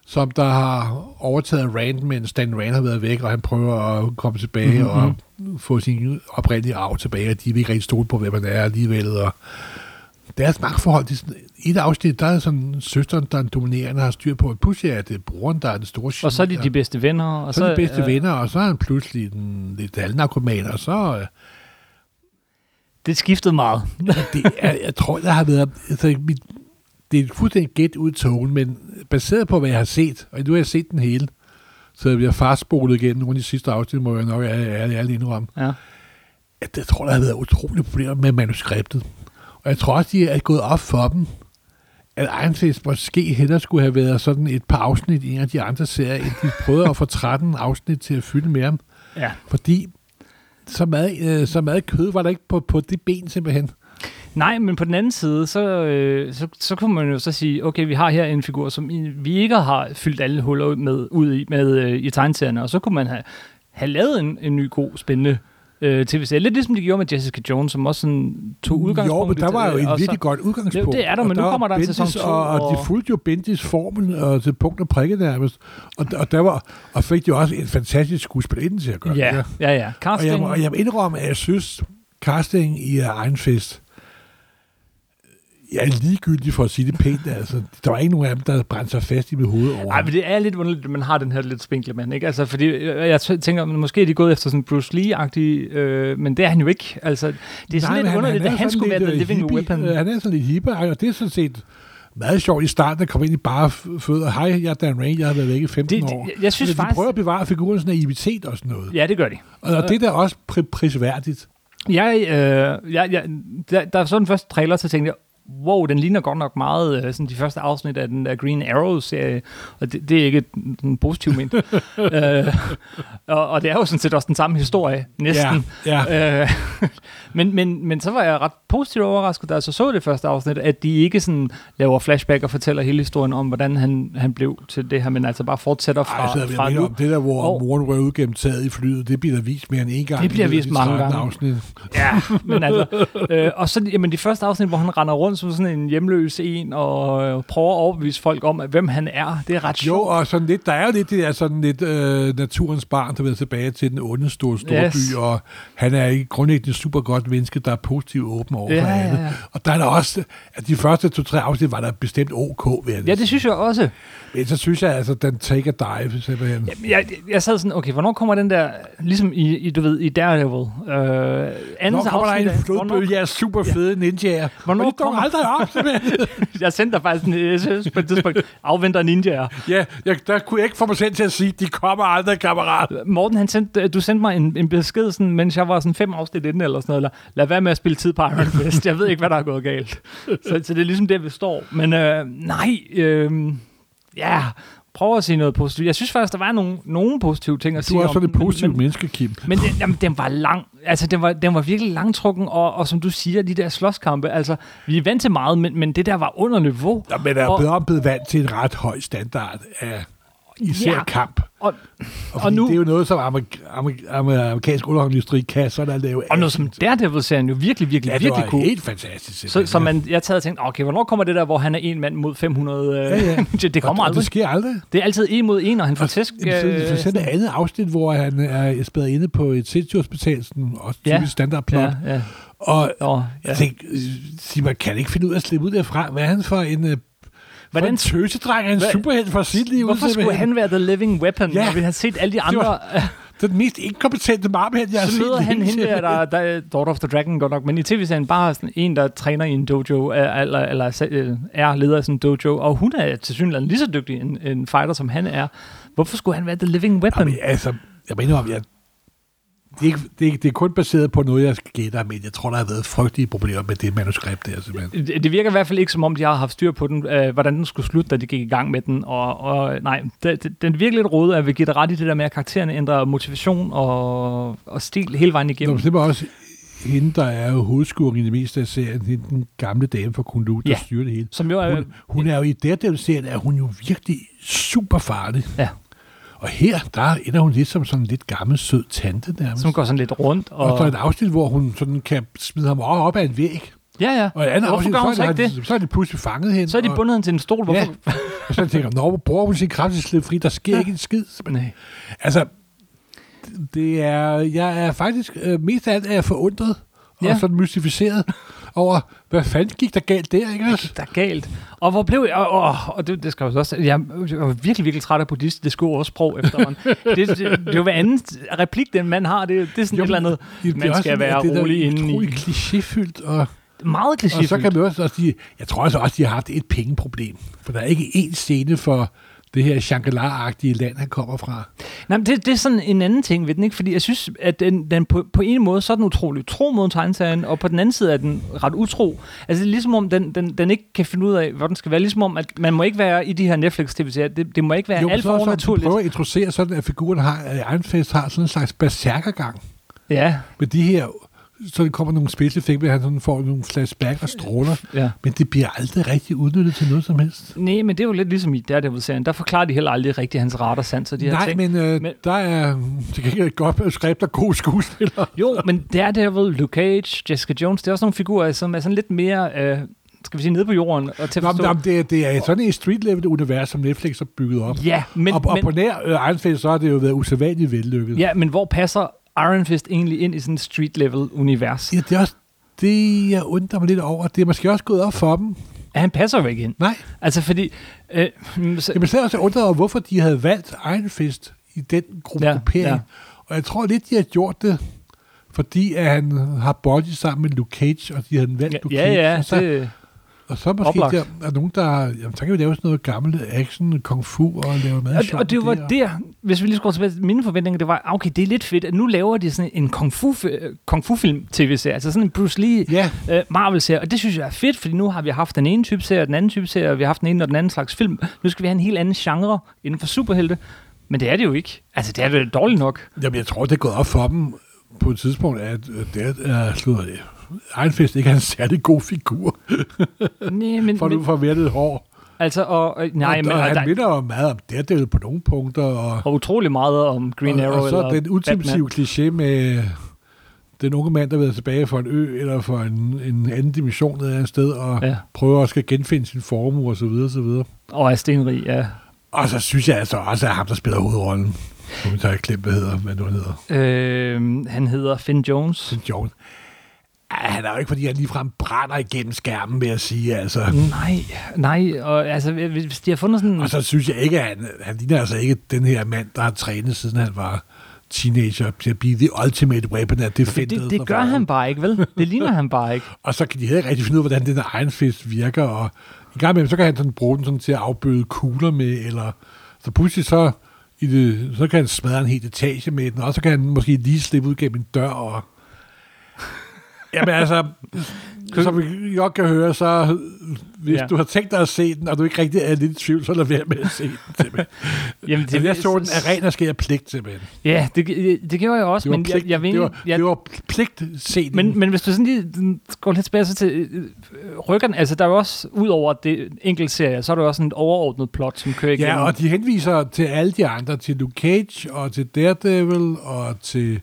S2: som der har overtaget Rand, men Stan Rand har været væk, og han prøver at komme tilbage
S1: Mhm,
S2: mm-hmm. og få sin oprindelige arv tilbage, og de vil ikke rigtig stole på, hvem han er alligevel. Og deres magtforhold, det er sådan, i et afsnit, der er sådan søsteren, der er en dominerende, har styr på, at pludselig er det broren, der er den store
S1: Og så er de
S2: geni,
S1: de bedste venner. Og
S2: så er de bedste
S1: øh,
S2: venner, og så er han pludselig den lidt halvnarkoman, og så... Øh,
S1: Det skiftede meget.
S2: det er, jeg tror, der har været... Altså, mit, det er et fuldstændig gæt ud i togen, men baseret på, hvad jeg har set, og nu har jeg set den hele, så jeg bliver farspolet igennem nogle af de sidste afsnit, må jeg nok ærligt ærlig indrømme,
S1: Ja.
S2: at jeg tror, der har været utrolige problemer med manuskriptet. Og jeg tror også, de er gået op for dem, at Einstein måske hellere skulle have været sådan et par afsnit i en af de andre serier, end de prøvede at få 13 afsnit til at fylde med ham.
S1: ja.
S2: Fordi så meget, øh, så meget kød var der ikke på, på det ben simpelthen.
S1: Nej, men på den anden side, så, øh, så, så kunne man jo så sige, okay, vi har her en figur, som i, vi ikke har fyldt alle huller ud med, ud i, med øh, i tegneserierne, og så kunne man have, have lavet en, en ny god, spændende øh, tv-serie. Lidt ligesom de gjorde med Jessica Jones, som også sådan tog udgangspunkt.
S2: Jo, men der
S1: i-
S2: var jo
S1: og
S2: et
S1: så-
S2: virkelig godt udgangspunkt.
S1: Det- det er der,
S2: Og
S1: men nu kommer der en
S2: Bendis,
S1: sæson to,
S2: Og, og de
S1: og-
S2: fulgte jo Bendis formel og til punkt og prikke nærmest. Og, og, der var, og fik de også en fantastisk skuespillerinde til at gøre
S1: Ja,
S2: det.
S1: ja, ja.
S2: Og jeg,
S1: Casting.
S2: må- og jeg må indrømme, at jeg synes, casting i egen fest, jeg er ligegyldig for at sige det pænt. Altså, der var ikke nogen af dem, der brændte sig fast i mit hoved over.
S1: Ej, men det er lidt underligt, at man har den her lidt spinkle mand, ikke? Altså, fordi øh, jeg t- tænker, måske er de gået efter sådan Bruce Lee-agtig, øh, men det er han jo ikke. Altså, det er sådan Nej,
S2: Nej, men
S1: lidt underligt,
S2: er
S1: at han
S2: sådan
S1: skulle være
S2: lidt,
S1: The
S2: øh,
S1: Living
S2: hippie.
S1: Weapon.
S2: Øh, Han er sådan lidt hippe, og det er sådan set meget sjovt i starten, at komme ind i bare f- fødder. Hej, jeg er Dan Rain, jeg har været væk i 15
S1: Det- det-
S2: år.
S1: jeg- jeg synes
S2: Men de
S1: faktisk-
S2: prøver at bevare figurens naivitet og sådan noget. Ja.
S1: Ja, det gør de.
S2: Og, og det er da også pri- prisværdigt.
S1: Jeg, øh, jeg, jeg, da, da jeg så den første trailer, så tænkte jeg, wow, den ligner godt nok meget øh, sådan de første afsnit af den der Green Arrow-serie, og det, det er ikke den positiv ment. øh, og, og det er jo sådan set også den samme historie, næsten.
S2: Ja,
S1: Øh, men, men, men så var jeg ret positivt overrasket, da jeg så, så det første afsnit, at de ikke sådan laver flashback og fortæller hele historien om, hvordan han, han blev til det her, men altså bare fortsætter fra,
S2: Ej, så jeg
S1: fra
S2: mener,
S1: nu.
S2: om det der, hvor
S1: Og-
S2: moren røg ud gennem taget i flyet, det bliver der vist mere end en gang.
S1: Det bliver
S2: i løbet af
S1: vist
S2: de
S1: mange
S2: 13
S1: gange.
S2: Afsnit.
S1: Ja, men altså. Øh, og så jamen, de første afsnit, hvor han render rundt som sådan en hjemløs en, og øh, prøver at overbevise folk om, at, hvem han er. Det er ret
S2: Jo,
S1: sjovt.
S2: og sådan lidt, der er jo lidt det der sådan lidt øh, naturens barn, der vender tilbage til den onde store storby,
S1: Yes.
S2: yes. og han er ikke grundlæggende et super godt menneske, der er positivt åben over
S1: Ja,
S2: for
S1: ja,
S2: alle.
S1: ja.
S2: Og der er der også, at de første to-tre afsnit var der bestemt ok ved
S1: Ja, det synes jeg også.
S2: Men så synes jeg altså, den take a dive, simpelthen. Ja,
S1: Jeg, jeg, jeg sad sådan, okay, hvornår kommer den der, ligesom i, i du ved, i Daredevil, øh,
S2: Når
S1: andet
S2: kommer der
S1: afsnit,
S2: en
S1: af- hvornår-
S2: flodbølge af super fede ninjaer?
S1: Hvornår
S2: Hvornår og de dukker
S1: kommer-
S2: aldrig op, simpelthen.
S1: Jeg sendte dig faktisk en SS på et tidspunkt, afventer ninjaer.
S2: ja, jeg, der kunne jeg ikke få mig selv til at sige, de kommer aldrig, kammerat.
S1: Morten, han sendte, du sendte mig en, en besked, sådan, mens jeg var sådan fem afsnit inden, eller sådan noget, eller lad være med at spille tid på Iron Fist. Jeg ved ikke, hvad der er gået galt. Så, så det er ligesom der, vi står. Men øh, nej, øh, ja, prøv at sige noget positivt. Jeg synes faktisk, der var nogle, nogle positive ting at
S2: Du
S1: sige
S2: er også
S1: om
S2: sådan et
S1: den, men-
S2: positivt
S1: men-
S2: menneske, Kim.
S1: Men den, jamen, den var lang. Altså, den var, den var virkelig langtrukken, og, og som du siger, de der slåskampe, altså, vi er vant til meget, men, men det der var under niveau.
S2: Nå, men er
S1: Og-
S2: blevet, blevet vant til en ret høj standard af især
S1: Ja.
S2: ja. kamp.
S1: Og,
S2: Og,
S1: Og
S2: og
S1: nu-
S2: nu, det er jo noget, som amerik- amerik- amerik- amerikansk underholdningsindustri kan sådan at lave.
S1: og
S2: af.
S1: noget som Daredevil-serien jo virkelig, virkelig,
S2: ja, det
S1: virkelig
S2: var
S1: kunne.
S2: helt fantastisk.
S1: Så,
S2: simpelthen.
S1: så man, jeg tager og tænkte, okay, hvornår kommer det der, hvor han er en mand mod 500? Øh, ja,
S2: Ja, ja.
S1: ja. det kommer
S2: og, og
S1: aldrig.
S2: det sker aldrig.
S1: Det er altid en mod en, og han får tæsk.
S2: Jamen, så-
S1: øh,
S2: for eksempel et andet afsnit, hvor han er spædet inde på et sindssygehospital, sådan også
S1: Ja.
S2: typisk ja. standardplot.
S1: ja,
S2: Ja.
S1: ja.
S2: Og
S1: Nå, ja.
S2: jeg tænkte, øh, sig, man kan ikke finde ud af at slippe ud derfra. Hvad er han for en, øh, for
S1: Hvordan-
S2: en tøsedreng af en
S1: Hvad-
S2: superhelt for sit liv?
S1: Hvorfor skulle
S2: simpelthen?
S1: han være The Living Weapon,
S2: Ja.
S1: når vi har set alle de andre?
S2: Det er den mest inkompetente marmhelt, jeg har set.
S1: så møder
S2: i
S1: han
S2: hele
S1: hende der,
S2: serien.
S1: der, der er Daughter of the Dragon godt nok, men i tv-serien bare sådan en, der træner i en dojo, øh, eller, eller se- øh, er leder af sådan en dojo, og hun er til synligheden lige så dygtig en, en fighter, som han er. Hvorfor skulle han være The Living Weapon?
S2: Jamen, altså, jeg mener om, jeg Det er, ikke, det, er, ikke- det er kun baseret på noget, jeg gætter, men jeg tror, der har været frygtelige problemer med det manuskript der, simpelthen.
S1: Det det virker i hvert fald ikke, som om de har haft styr på den, øh, hvordan den skulle slutte, da de gik i gang med den. Og, og nej, det, det, den er virkelig lidt rodet, at vi giver dig ret i det der med, at karaktererne ændrer motivation og, og stil hele vejen
S2: Nå,
S1: igennem.
S2: men det var også hende, der er jo hovedskurken i det meste af serien, hende, den gamle dame fra Kundu, der
S1: Ja.
S2: ja. styrer det hele.
S1: Som jo er...
S2: Hun, hun er jo i Daredevil-serien, er hun jo virkelig super farlig.
S1: Ja,
S2: Og her, der ender hun lidt som sådan en lidt gammel, sød tante nærmest.
S1: som går sådan lidt rundt.
S2: og... og
S1: Og,
S2: der er et afsnit, hvor hun sådan kan smide ham op, op ad en væg.
S1: ja, ja.
S2: Og i andet
S1: Hvorfor
S2: afsnit,
S1: gør hun
S2: så,
S1: så
S2: er
S1: ikke
S2: de,
S1: det?
S2: så er de pludselig fanget hende.
S1: Så er de
S2: og-
S1: bundet hende til en stol. Hvorfor?
S2: Ja. Og så tænker jeg, når bruger hun sin kraft til at slippe fri, der sker ja. ikke en skid.
S1: Nej.
S2: Altså, det er, jeg er faktisk øh, mest af alt er jeg forundret og
S1: Ja.
S2: ja. sådan mystificeret over, hvad fanden gik der galt der, ikke også?
S1: der er galt. Og hvor blev jeg... Og, og, og det, det skal jeg jo også... Jeg, jeg var virkelig, virkelig træt af buddhist. Det skulle også sprog efterhånden. det, det, det, er jo hver anden replik, den mand har. Det, det er sådan jo, et eller andet,
S2: Det, det
S1: man skal være rolig
S2: indeni. Det er
S1: indeni.
S2: klichéfyldt, og,
S1: Meget
S2: og så
S1: klichéfyldt.
S2: kan man også, også de, jeg tror altså også, de har haft et pengeproblem, for der er ikke én scene for det her Shangri-La-agtige land, han kommer fra.
S1: Nej, men det, det er sådan en anden ting ved den, ikke? Fordi jeg synes, at den, den på, på en måde, så er den utrolig tro mod tegneserien, og på den anden side er den ret utro. Altså, det er ligesom om, den, den, den ikke kan finde ud af, hvor den skal være. Ligesom om, at man må ikke være i de her Netflix-tv-serier. Det, det må ikke være
S2: Jo,
S1: jo, alt
S2: så
S1: for
S2: også, at de
S1: overnaturligt.
S2: prøver at introducere sådan, at figuren har, at Ironfest har sådan en slags berserkergang.
S1: Ja,
S2: Men de her, så der kommer nogle spidseffekter, han sådan får nogle flashback og stråler,
S1: ja.
S2: men det bliver aldrig rigtig udnyttet til noget som helst.
S1: Nej, men det er jo lidt ligesom i Daredevil-serien. Der forklarer de heller aldrig rigtig hans radarsans og de her
S2: Nej,
S1: ting.
S2: men, øh,
S1: Men-
S2: men der er til gengæld et godt skrift og gode skuespillere.
S1: Jo, men Daredevil, Luke Cage, Jessica Jones, det er også nogle figurer, som er sådan lidt mere, øh, skal vi sige, nede på jorden og til at
S2: Nå, men,
S1: forstå.
S2: nå, men det, er- det er sådan et street-level-univers, som Netflix har bygget op.
S1: Ja, men,
S2: og, og
S1: men,
S2: på nær øh, Iron Fist, så har det jo været usædvanligt vellykket.
S1: ja, men hvor passer Iron Fist egentlig ind i sådan et street-level-univers?
S2: ja, det er også det, jeg undrer mig lidt over. Det er måske også gået op for dem.
S1: Ja. Han passer jo ikke ind.
S2: Nej,
S1: Altså, fordi... Øh, mm, så,
S2: jeg blev selv også undret over, hvorfor de havde valgt Iron Fist i den gruppe
S1: Ja,
S2: ja, gruppering.
S1: ja.
S2: Ja. Og jeg tror lidt, de har gjort det, fordi at han har body sammen med Luke Cage, og de havde valgt Luke
S1: ja,
S2: Cage.
S1: ja,
S2: og så,
S1: det,
S2: Og så måske
S1: Oplagt.
S2: der er nogen, der... Jamen, så kan vi lave sådan noget gammelt action, kung fu og lave mad.
S1: og, og det var der, hvis vi lige skulle tilbage til mine forventninger, det var, ah, okay, det er lidt fedt, at nu laver de sådan en kung fu, fi- kung fu film tv-serie, altså sådan en Bruce Lee
S2: Ja,
S1: øh, Marvel-serier, og det synes jeg er fedt, fordi nu har vi haft den ene type serie, og den anden type serie, og vi har haft den ene og den anden slags film. Nu skal vi have en helt anden genre inden for superhelte. Men det er det jo ikke. Altså, det er det dårligt nok.
S2: jamen, jeg tror, det er gået op for dem på et tidspunkt, at øh, det er slutter det. Ejnfest ikke er en særlig god figur,
S1: Nej, men,
S2: for du
S1: men
S2: får værtet hår.
S1: altså, og, og, nej,
S2: og,
S1: men,
S2: og,
S1: og,
S2: han
S1: der,
S2: minder jo meget om Daredevil på nogle punkter, og,
S1: og utrolig meget om Green
S2: og,
S1: Arrow
S2: og så
S1: eller
S2: den ultimative kliché med den unge mand, der er tilbage fra en ø eller fra en, en anden dimension ned ad et sted, og
S1: Ja.
S2: ja. prøver at skal genfinde sin formue osv. videre.
S1: Batman, og er stenrig, ja.
S2: Og så synes jeg altså også, at ham, der spiller hovedrollen, nu tager jeg klip, hvad hedder, hvad nu han hedder,
S1: Øh, han hedder Finn Jones.
S2: St. Jones. Ah, han er jo ikke, fordi han ligefrem brænder igennem skærmen med at sige, altså.
S1: Nej, nej, og altså, hvis hvis de har fundet sådan...
S2: Og så synes jeg ikke, at han, han ligner altså ikke den her mand, der har trænet, siden han var teenager, til at blive the ultimate weapon af det
S1: det,
S2: fændede.
S1: det, det gør han bare ikke, vel? Det ligner han bare ikke.
S2: Og så kan de heller ikke rigtig finde ud af, hvordan den der egen fist virker, og i gang imellem, så kan han sådan bruge den sådan til at afbøde kugler med, eller så pludselig så, i det, så kan han smadre en hel etage med den, og så kan han måske lige slippe ud gennem en dør, og Jamen altså, som vi godt kan høre, så hvis
S1: Ja.
S2: ja. du har tænkt dig at se den, og du ikke rigtig er lidt i tvivl, så lad være med at se den. simpelthen.
S1: Jamen,
S2: altså, jeg så den af ren og skær pligt, simpelthen.
S1: Ja, det, det gjorde jeg også,
S2: Det var
S1: men jeg,
S2: pligt,
S1: jeg, vil
S2: det var,
S1: egentlig- jeg,
S2: det var pligt set.
S1: Men, men hvis du sådan lige den, går lidt tilbage så til øh, øh, rykkerne, altså der er jo også, ud over det enkelte serie, så er der jo også sådan et overordnet plot, som kører igennem.
S2: Ja, og de henviser til alle de andre, til Luke Cage og til Daredevil og til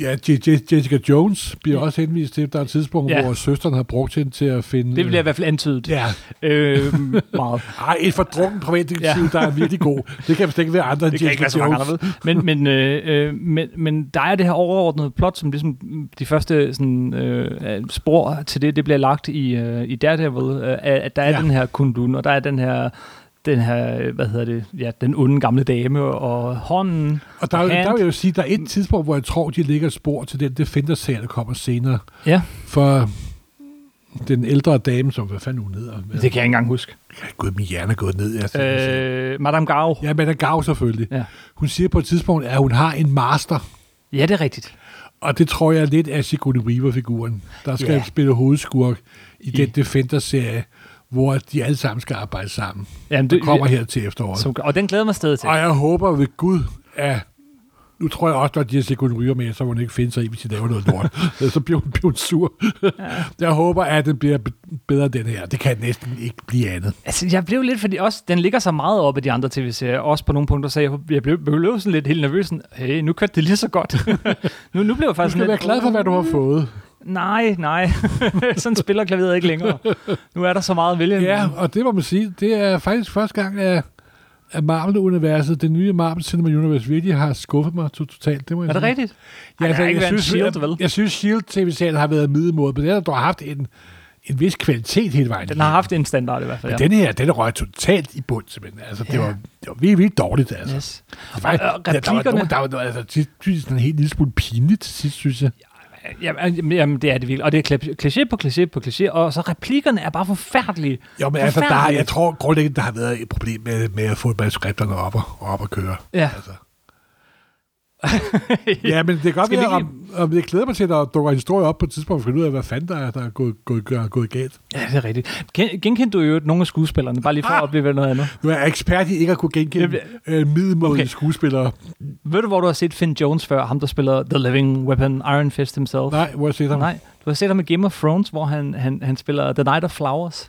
S2: ja, Je- Je- Jessica Jones bliver også henvist til. Der er et tidspunkt,
S1: Ja.
S2: ja. hvor søsteren har brugt hende til at finde...
S1: det bliver i hvert fald antydet.
S2: Ja,
S1: Øh, meget.
S2: Ej, et fordrukken privatdetektiv, ja. der er virkelig god. Det kan vist ikke være andre end
S1: Det kan
S2: Jessica
S1: ikke være så mange
S2: Jones.
S1: andre ved. Men, men, øh, øh, men, men der er det her overordnede plot, som ligesom de første sådan, øh, spor til det, det bliver lagt i, øh, i Daredevil, øh, at der er ja.
S2: Ja.
S1: den her kundun, og der er den her den her, øh, hvad hedder det, ja, den onde gamle dame og hånden.
S2: Og der, er jo-
S1: Hand.
S2: der vil jeg jo sige, der er et tidspunkt, hvor jeg tror, de lægger et spor til den Defender-serie, der kommer senere.
S1: Ja,
S2: For den ældre dame, som hvad fanden hun hedder.
S1: det kan jeg ikke engang huske.
S2: Ja, Gud, min hjerne er gået ned. Jeg øh,
S1: Øh, Madame Gao.
S2: ja, men der gav selvfølgelig.
S1: Ja.
S2: Hun siger på et tidspunkt, at hun har en master,
S1: Ja, det er rigtigt.
S2: Og det tror jeg er lidt af Sigourney Weaver-figuren, der skal
S1: Ja.
S2: yeah. spille hovedskurk i,
S1: I-
S2: den Defender-serie, hvor de alle sammen skal arbejde sammen.
S1: Jamen,
S2: Det
S1: det-
S2: kommer her til efteråret.
S1: Som, og den glæder jeg mig stadig til.
S2: Og jeg håber ved Gud, at nu tror jeg også, at de har Sigourney Weaver med, så må hun ikke finde sig i, hvis de laver noget lort. så bliver hun, bliver hun sur. jeg håber, at den bliver be- bedre end den her. Det kan næsten ikke blive andet.
S1: Altså, jeg blev lidt, fordi også, den ligger så meget op af de andre tv-serier, også på nogle punkter, så jeg, jeg blev, blev sådan lidt helt nervøs. Sådan, hey, nu kørte det lige så godt. nu, nu blev jeg
S2: Du
S1: faktisk
S2: skal være
S1: lidt,
S2: glad for, hvad du har fået.
S1: Nej, nej. sådan spiller klaveret ikke længere. Nu er der så meget at vælge.
S2: Ja, og det må man sige, det er faktisk første gang, at, at Marvel-universet, det nye Marvel Cinema Universe, virkelig har skuffet mig to- totalt. Det må jeg
S1: Er det
S2: sige.
S1: rigtigt?
S2: Ja,
S1: Ej, der
S2: altså,
S1: har ikke
S2: jeg,
S1: været en
S2: synes,
S1: Shield,
S2: jeg,
S1: vel?
S2: jeg, synes, Shield-tv-serien har været middelmåde, men den har dog haft en, en vis kvalitet hele vejen.
S1: Den har haft en standard i hvert fald,
S2: Men
S1: ja.
S2: den her, den røg totalt i bund, simpelthen. Altså, det
S1: Ja.
S2: var, det var virkelig, virkelig dårligt, altså. Yes.
S1: Yes.
S2: Det var,
S1: Og, øh,
S2: der, der var,
S1: replikkerne-
S2: nogen, der var noget, altså, til synes, den er helt lille smule pinligt til sidst, synes jeg.
S1: Jamen, jamen, jamen, det er det virkelig. Og det er kla- kliché på kliché på kliché, og så replikkerne er bare forfærdelige.
S2: Jo, men altså, der, har-
S1: Forfærdelige.
S2: jeg tror grundlæggende, der har været et problem med, med at få manuskripterne op og, og op at køre.
S1: Ja.
S2: Altså. ja, men det kan godt
S1: Skal vi
S2: være,
S1: ikke-
S2: om, om jeg glæder mig til, at der dukker en historie op på et tidspunkt, og finde ud af, hvad fanden der er, der er gået, gået, gået, gået galt.
S1: Ja, det er rigtigt. Gen- genkendte du jo nogle af skuespillerne, bare
S2: Ah!
S1: lige for at opleve noget andet.
S2: Nu er jeg ekspert i ikke at kunne genkende
S1: Jamen,
S2: øh, middelmådige
S1: okay.
S2: okay. skuespillere.
S1: Ved du, hvor du har set Finn Jones før? Ham, der spiller The Living Weapon, Iron Fist himself.
S2: Nej, hvor jeg set ham.
S1: Nej. Du har set ham i Game of Thrones, hvor han, han, han spiller The Night of Flowers.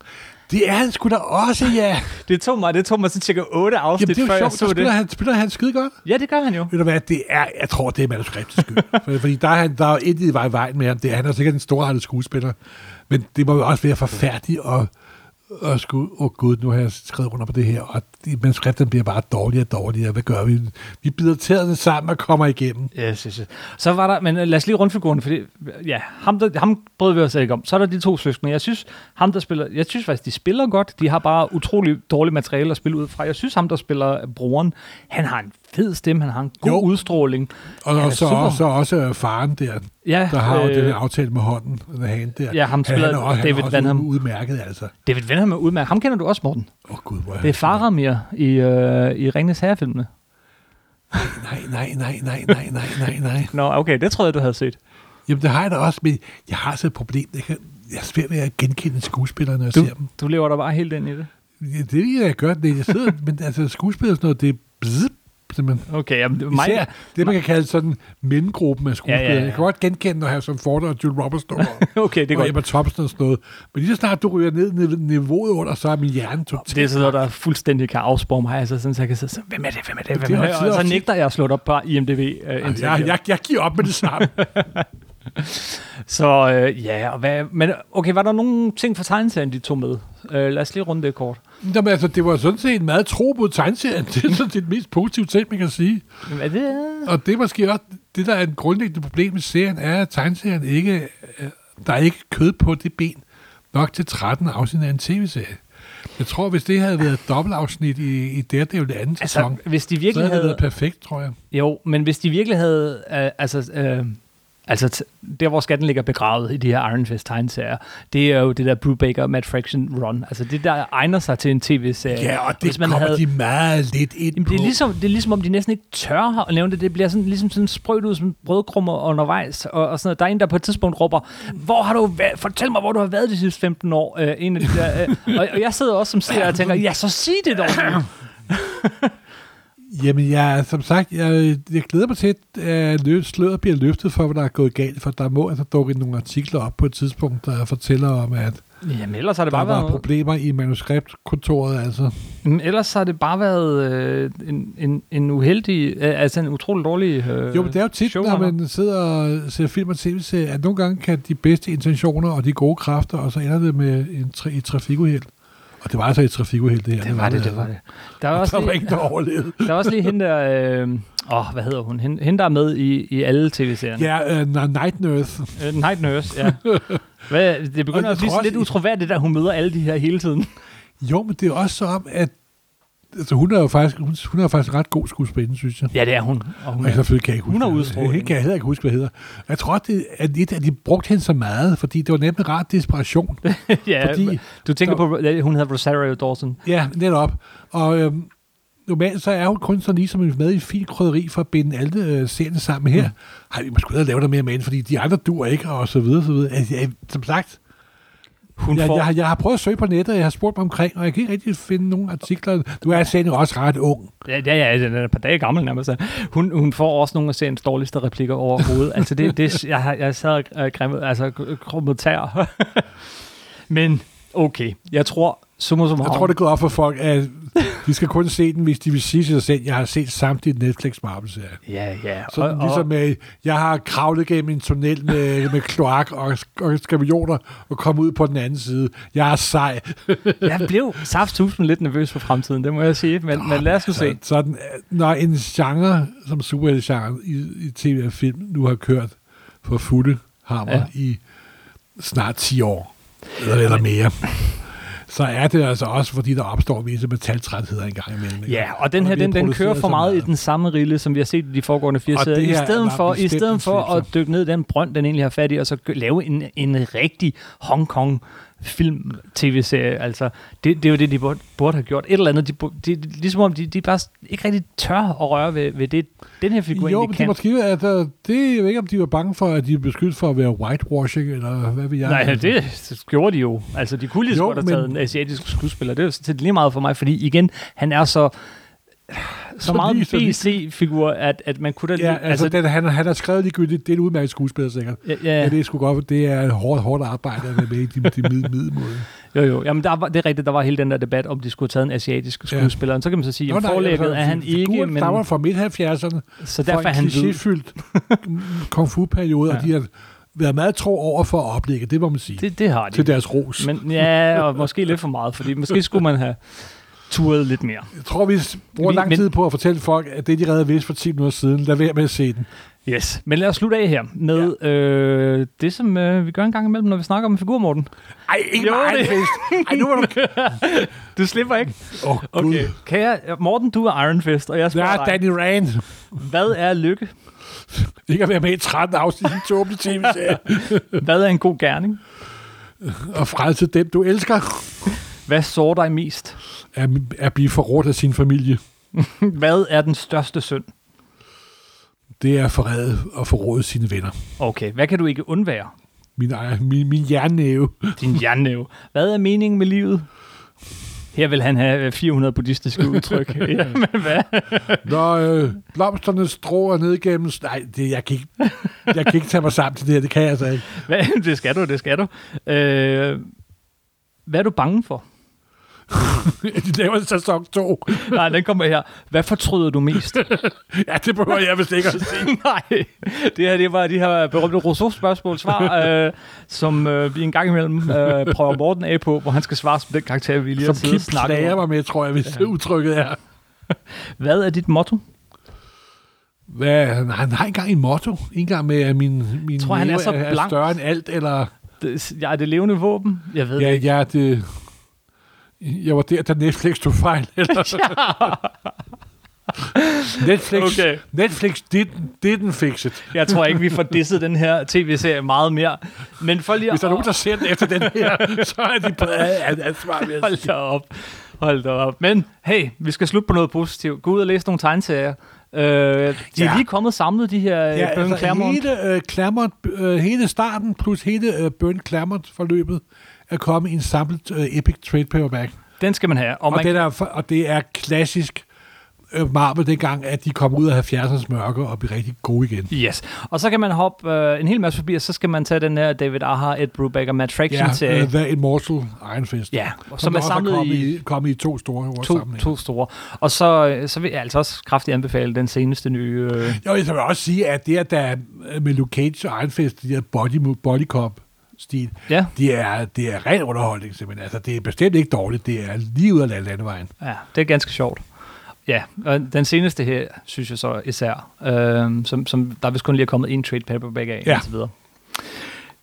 S2: Det er han sgu da også, ja.
S1: Det tog mig, det tog mig sådan cirka 8 afsnit,
S2: Jamen, det er
S1: før
S2: jo
S1: jeg
S2: sjovt, så
S1: så
S2: spiller
S1: det.
S2: han, spiller han skide godt.
S1: Ja, det gør han jo.
S2: Ved du hvad, det er, jeg tror, det er manuskriptets skyld. For- Fordi der er, han, der er jo intet i vej- vejen med ham. Det er, han er sikkert en stor skuespiller. Men det må jo også være forfærdeligt at, at skulle, åh oh gud, nu har jeg skrevet under på det her, og de- manuskripterne bliver bare dårligere og dårligere. Hvad gør vi? Vi bider tæerne sammen og kommer igennem.
S1: Yes, yes, yes. Så var der, men øh, lad os lige rundt figuren, fordi ja, ham, der, ham brød vi os ikke om. Så er der de to søskende. Jeg synes, ham, der spiller, jeg synes faktisk, de spiller godt. De har bare utrolig dårligt materiale at spille ud fra. Jeg synes, ham, der spiller broren, han har en fed stemme, han har en god
S2: Jo.
S1: udstråling.
S2: Og,
S1: Han er
S2: og så,
S1: super.
S2: og så også øh, faren der,
S1: Ja,
S2: der har jo
S1: øh,
S2: den her aftale med hånden, den hand der.
S1: ja, ham spiller
S2: han er også, han
S1: David
S2: er også
S1: Vanham.
S2: u- udmærket, altså.
S1: David Venham er udmærket. Ham kender du også, Morten.
S2: Åh oh gud, hvor
S1: Det er Faramir i, øh, i Ringnes Herrefilmene.
S2: Nej, nej, nej, nej, nej, nej, nej, nej.
S1: Nå, okay, det troede jeg, du havde set.
S2: Jamen, det har jeg da også, men jeg har så et problem. Jeg, kan, jeg er svært ved at genkende skuespillere, når jeg
S1: Du,
S2: ser dem.
S1: du lever der bare helt ind i det.
S2: Ja, Det er ikke, jeg gør, det jeg sidder, men altså skuespillere og sådan noget, det er bzzp, simpelthen.
S1: Okay, jamen, det- mig,
S2: Især det, man kan kalde sådan mellemgruppen af skuespillere.
S1: Ja, ja, ja.
S2: Jeg kan godt genkende, når Harrison Ford og Jude Roberts står
S1: okay, det er
S2: og
S1: godt.
S2: Emma Thompson og sådan noget. Men lige så snart du ryger ned i niveauet under, så er min hjerne totalt...
S1: Det er sådan noget, der fuldstændig kan afspore mig. Altså sådan, så jeg kan sidde sådan, hvem er det, hvem er det, hvem
S2: det
S1: er
S2: er
S1: det?
S2: også-
S1: Og så
S2: også-
S1: nægter jeg at slå det op på IMDb. Øh,
S2: jeg,
S1: indtil
S2: jeg,
S1: videre.
S2: jeg, jeg giver op med det samme.
S1: Så øh, ja, og hvad, men okay, var der nogle ting fra tegneserien, de tog med? Øh, lad os lige runde det kort.
S2: Jamen, altså, det var sådan set en meget tro mod tegneserien. Det er sådan set det mest positive ting, man kan sige.
S1: Jamen, Er det...
S2: Og det er måske også det, der er et grundlæggende problem med serien, er, at tegneserien ikke, øh, der er ikke kød på det ben nok til 13 afsnit af en tv-serie. Jeg tror, hvis det havde været et dobbeltafsnit i, i Daredevil anden altså, sæson,
S1: Altså, hvis de
S2: så
S1: virkelig
S2: havde det
S1: havde...
S2: været perfekt, tror jeg.
S1: Jo, men hvis de virkelig havde... Øh, altså, øh, altså t- der, hvor skatten ligger begravet i de her Iron Fist tegneserier, det er jo det der Brubaker Matt Fraction run. Altså det, der egner sig til en tv-serie.
S2: Ja, og det
S1: Hvis man
S2: kommer
S1: havde-
S2: havde... de meget lidt ind
S1: Jamen,
S2: på.
S1: det, er ligesom, det er ligesom, om de næsten ikke tør at nævne det. Det bliver sådan, ligesom sådan sprøjt ud som brødkrummer undervejs. Og, og sådan noget. Der er en, der på et tidspunkt råber, hvor har du været? Fortæl mig, hvor du har været de sidste 15 år. Øh, en af de der, øh, og, og, jeg sidder også som seer og tænker, ja, så sig det dog. nu."
S2: Jamen, jeg, som sagt, jeg, jeg glæder mig til, at øh, lø- sløret bliver løftet for, hvad der er gået galt, for der må altså dukke nogle artikler op på et tidspunkt, der fortæller om, at
S1: Jamen, ellers har det
S2: der
S1: bare
S2: var
S1: været...
S2: problemer i manuskriptkontoret, altså.
S1: Mm, Ellers har det bare været øh, en, en, en uheldig, øh, altså en utrolig dårlig øh,
S2: Jo, men det er jo tit, når
S1: showrunner.
S2: man sidder og ser film og tv-serier, at nogle gange kan de bedste intentioner og de gode kræfter, og så ender det med en tra- et trafikuheld. Og det var altså et trafikuheld, det her.
S1: Det var det, det
S2: altså.
S1: var det. Der er
S2: Og
S1: også
S2: Der var
S1: lige,
S2: ikke, der overlevede.
S1: der er også lige hende der... Øh, Åh, oh, hvad hedder hun? Hende, hende der er med i, i alle tv-serierne.
S2: Ja, uh, Night Nurse.
S1: Uh, night Nurse, ja. Hvad, det begynder at blive
S2: Og jeg tror
S1: sådan
S2: også,
S1: lidt
S2: I-
S1: utroværdigt, at hun møder alle de her hele tiden.
S2: Jo, men det er også så om, at altså, hun er jo faktisk, hun, hun er faktisk en ret god skuespiller, synes jeg.
S1: Ja, det er hun. Og hun
S2: Og jeg
S1: er.
S2: selvfølgelig kan jeg ikke huske.
S1: Hun har
S2: hvad-
S1: udstråling.
S2: Jeg kan heller ikke huske, hvad det hedder. Jeg tror, det er lidt, at de brugte hende så meget, fordi det var nemlig ret desperation.
S1: ja,
S2: Altså, fordi-
S1: du tænker på, at hun hedder Rosario Dawson.
S2: Ja, netop. Og øhm, normalt så er jo kun sådan ligesom med i et fint krydderi for at binde alle øh, serierne sammen her. Mm. Har vi måske hellere lave noget mere med, hende, fordi de andre dur ikke, og så videre, så videre. Altså, jeg, som sagt,
S1: Hun
S2: jeg,
S1: får...
S2: jeg, har- jeg, har prøvet at søge på nettet, og jeg har spurgt mig omkring, og jeg kan ikke rigtig finde nogen artikler. Du er særlig også ret ung.
S1: Ja, ja, ja, den er et par dage gammel nærmest. så Hun, hun får også nogle af seriens dårligste replikker overhovedet. altså, det, det, jeg, har- jeg sad og øh, grimmede, altså k- krummet tær. Men okay, jeg tror, summa summarum,
S2: Jeg tror, det er gået op for folk, at de skal kun se den, hvis de vil sige sig selv, jeg har set samtlige Netflix Marvel-serier.
S1: Ja, ja.
S2: Så og, ligesom øh, jeg har kravlet gennem en tunnel med, med kloak og, og skabioner og kom ud på den anden side. Jeg er sej.
S1: og, jeg blev saftsusen lidt nervøs for fremtiden, det må jeg sige. Men, men lad os nu se.
S2: Så, sådan, øh, når en genre som superhelte-genre i, i tv og film nu har kørt for fulde hammer
S1: Ja.
S2: ja. i snart 10 år, eller, eller mere, så er det altså også, fordi der opstår visse metaltrætheder engang imellem. ikke?
S1: Ja, og den
S2: der
S1: her,
S2: bliver
S1: den, den kører
S2: produceret
S1: for
S2: så
S1: meget i den samme rille, som vi har set i de foregående fire
S2: Og
S1: sæder.
S2: det
S1: I
S2: her
S1: stedet
S2: var
S1: for, i
S2: bestemt
S1: stedet
S2: en
S1: for at
S2: svipser.
S1: dykke ned i den brønd, den egentlig har fat i, og så gø- lave en, en rigtig Hong Kong film tv-serie. Altså, det, det er jo det, de burde, burde have gjort. Et eller andet, de, burde- de, de- ligesom om de, de bare s- ikke rigtig tør at røre ved, ved det, den her figur
S2: Jo, men
S1: egentlig
S2: det er
S1: kan.
S2: måske, at uh, det er jo ikke, om de var bange for, at de er beskyldt for at være whitewashing, eller hvad ved jeg.
S1: Nej, det gjorde de jo. Altså, de kunne lige så
S2: Jo,
S1: godt have taget
S2: men-
S1: en asiatisk skuespiller. Det er jo sådan set lige meget for mig, fordi igen, han er så, så,
S2: Så
S1: meget
S2: lige- så lige-
S1: BC-figur, at, at man kunne da lige...
S2: Ja, altså, altså den, han, han har skrevet ligegyldigt, det er en udmærket skuespiller, sikkert.
S1: ja,
S2: Ja.
S1: ja.
S2: ja, det er sgu godt, for det er hårdt, hårdt arbejde at være med i de, de mid, middelmåde.
S1: Jo, jo. Jamen, der var, det er rigtigt, der var hele den der debat, om de skulle have taget en asiatisk
S2: Ja.
S1: skuespiller. Ja. Så kan man så sige, at forlægget er han ikke, men,
S2: altså, stammer fra midt-70'erne,
S1: så
S2: fra
S1: derfor er
S2: en
S1: han hvid.
S2: klichéfyldt kung fu-periode, ja. og
S1: Ja.
S2: de har været meget tro over for at oplægge, det må man sige, det,
S1: Det, det har de.
S2: til deres ros. Men,
S1: Men ja, og måske lidt for meget, fordi måske skulle man have turet lidt mere.
S2: jeg tror, vi bruger
S1: Vi-
S2: lang
S1: men-
S2: tid på at fortælle folk, at det, de redde vidste for 10 minutter siden, lad være med at se den.
S1: Yes. Men lad os slutte af her med ja. øh, det, som øh, vi gør en gang imellem, når vi snakker om en figur, Morten.
S2: Ej, ikke
S1: Jo,
S2: jo,
S1: det-
S2: det. Ej, nu var du...
S1: Du slipper ikke.
S2: Åh, oh, Gud. Okay.
S1: Kan jeg, Morten, du er Iron Fist, og jeg
S2: Der
S1: spørger
S2: er
S1: dig,
S2: Danny Rand.
S1: hvad er lykke?
S2: Ikke at være med i 13 afsnit i en tåbelig tv-serie.
S1: Hvad er en god gerning?
S2: og frelse dem, du elsker,
S1: Hvad sår dig mest?
S2: at, at blive forrådt af sin familie.
S1: Hvad er den største synd?
S2: Det er at forræde og forråde sine venner.
S1: Okay, hvad kan du ikke undvære?
S2: Min, ejer- min, min hjernenæve.
S1: Din jernnæve. Hvad er meningen med livet? Her vil han have øh, 400 buddhistiske udtryk. ja, men hvad?
S2: Når øh, blomsterne stråer ned gennem... Nej, det, jeg, kan ikke, jeg kan ikke tage mig sammen til det her. Det kan jeg altså ikke.
S1: hvad? Det skal du, det skal du. Øh, hvad er du bange for?
S2: De laver en sæson 2.
S1: Nej, den kommer her. Hvad fortryder du mest?
S2: Ja, det behøver jeg vist ikke.
S1: Nej, det her det var de her berømte Rousseau-spørgsmål-svar, øh, som øh, vi en gang imellem øh, prøver Morten af på, hvor han skal svare som den karakter, vi lige har
S2: Som
S1: siddet
S2: Kip
S1: og snakket
S2: slager
S1: om.
S2: mig med, tror jeg, hvis ja. udtrykket er.
S1: Hvad er dit motto?
S2: Hvad, han, han har engang en motto. En gang med, at min, min
S1: Tror, han er
S2: næve
S1: så
S2: er, er
S1: blank.
S2: større end alt, eller...
S1: Det, jeg er det levende våben? Jeg ved det
S2: Ja, ja, det... Jeg var der, da Netflix tog fejl. Eller? Netflix,
S1: Okay.
S2: okay. Netflix didn't, didn't fix it.
S1: Jeg tror ikke, vi får disset den her tv-serie meget mere. Men for lige
S2: Hvis der er
S1: at-
S2: nogen, der ser den efter den her, så er de på ad- ansvar. vil jeg
S1: Hold
S2: sige.
S1: da op. Hold da op. Men hey, vi skal slutte på noget positivt. Gå ud og læse nogle tegneserier. Øh, de ja. er
S2: Ja.
S1: lige kommet samlet, de her ja,
S2: Ja,
S1: Burn altså
S2: altså,
S1: Claremont.
S2: hele, øh, Claremont, øh, hele starten plus hele øh, Burn Claremont-forløbet er kommet i en samlet øh, epic trade paperback.
S1: Den skal man have. Og,
S2: Og,
S1: man,
S2: den er, for- og det er klassisk øh, Marvel dengang, at de kom ud af 70'ernes mørke og blev rigtig gode igen.
S1: Yes. Og så kan man hoppe øh, en hel masse forbi, og så skal man tage den her David Aha, Ed Brubaker, Matt Fraction serie
S2: Ja, uh, The Immortal Iron Fist.
S1: Ja, som er
S2: der også
S1: samlet
S2: kommet
S1: i-
S2: i, kommet i to store to,
S1: To,
S2: samlinger.
S1: to store. Og så, øh, så vil jeg altså også kraftigt anbefale den seneste nye... Øh,
S2: Jo, jeg vil også sige, at det, at der er med Luke Cage og Iron Fist, de der body, body cop stil,
S1: ja.
S2: det er, det er ren underholdning simpelthen. Altså, det er bestemt ikke dårligt. Det er lige ud af lande- landevejen.
S1: Ja, det er ganske sjovt. Ja, og den seneste her, synes jeg øhm, så især, øh, som, som der er vist kun lige er kommet en trade paperback af, ja.
S2: Ja.
S1: og så videre.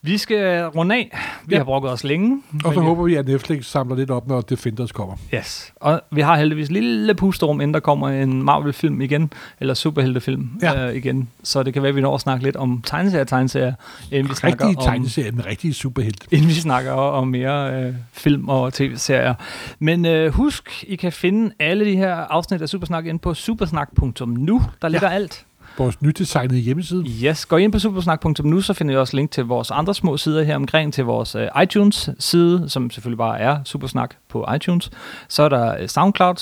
S1: Vi skal runde af. Vi
S2: Ja.
S1: har brugt os længe.
S2: Og så
S1: Men-
S2: håber vi, at Netflix samler lidt op, når Defenders kommer.
S1: Yes. Og vi har heldigvis et lille pusterum, inden der kommer en Marvel-film igen, eller superheltefilm
S2: Ja.
S1: ja. øh, igen. Så det kan være, at vi når at snakke lidt om tegneserier, tegneserier, inden vi snakker
S2: Rigtige
S1: om,
S2: tegneserie, den rigtige superhelt.
S1: inden vi snakker om mere øh, film og tv-serier. Men øh, husk, I kan finde alle de her afsnit af Supersnak inde på supersnak.nu. Der ligger ja. alt.
S2: Vores nydesignede hjemmeside.
S1: Yes, gå ind på supersnak.nu, så finder I også link til vores andre små sider her omkring, til vores øh, iTunes-side, som selvfølgelig bare er Supersnak på iTunes. Så er der øh, SoundCloud,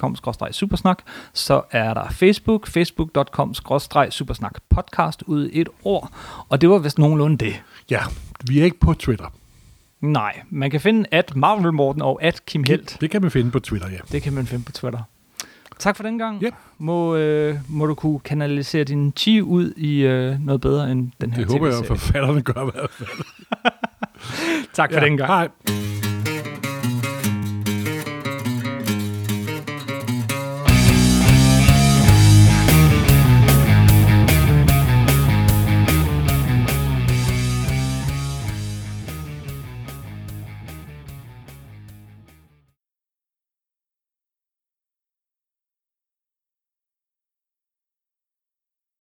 S1: soundcloud.com-supersnak. Så er der Facebook, facebook.com-supersnak podcast ud i et ord. Og det var vist nogenlunde det.
S2: Ja, vi er ikke på Twitter.
S1: Nej, man kan finde at Marvel Morten og at Kim Helt.
S2: Det kan man finde på Twitter, ja.
S1: Det kan man finde på Twitter. Tak for den gang.
S2: Yep.
S1: Må, øh, må du kunne kanalisere din chi ud i øh, noget bedre end den her
S2: Det håber jeg, at
S1: TV-serie.
S2: forfatterne gør i hvert fald.
S1: Tak for
S2: Ja,
S1: den gang.
S2: Hej.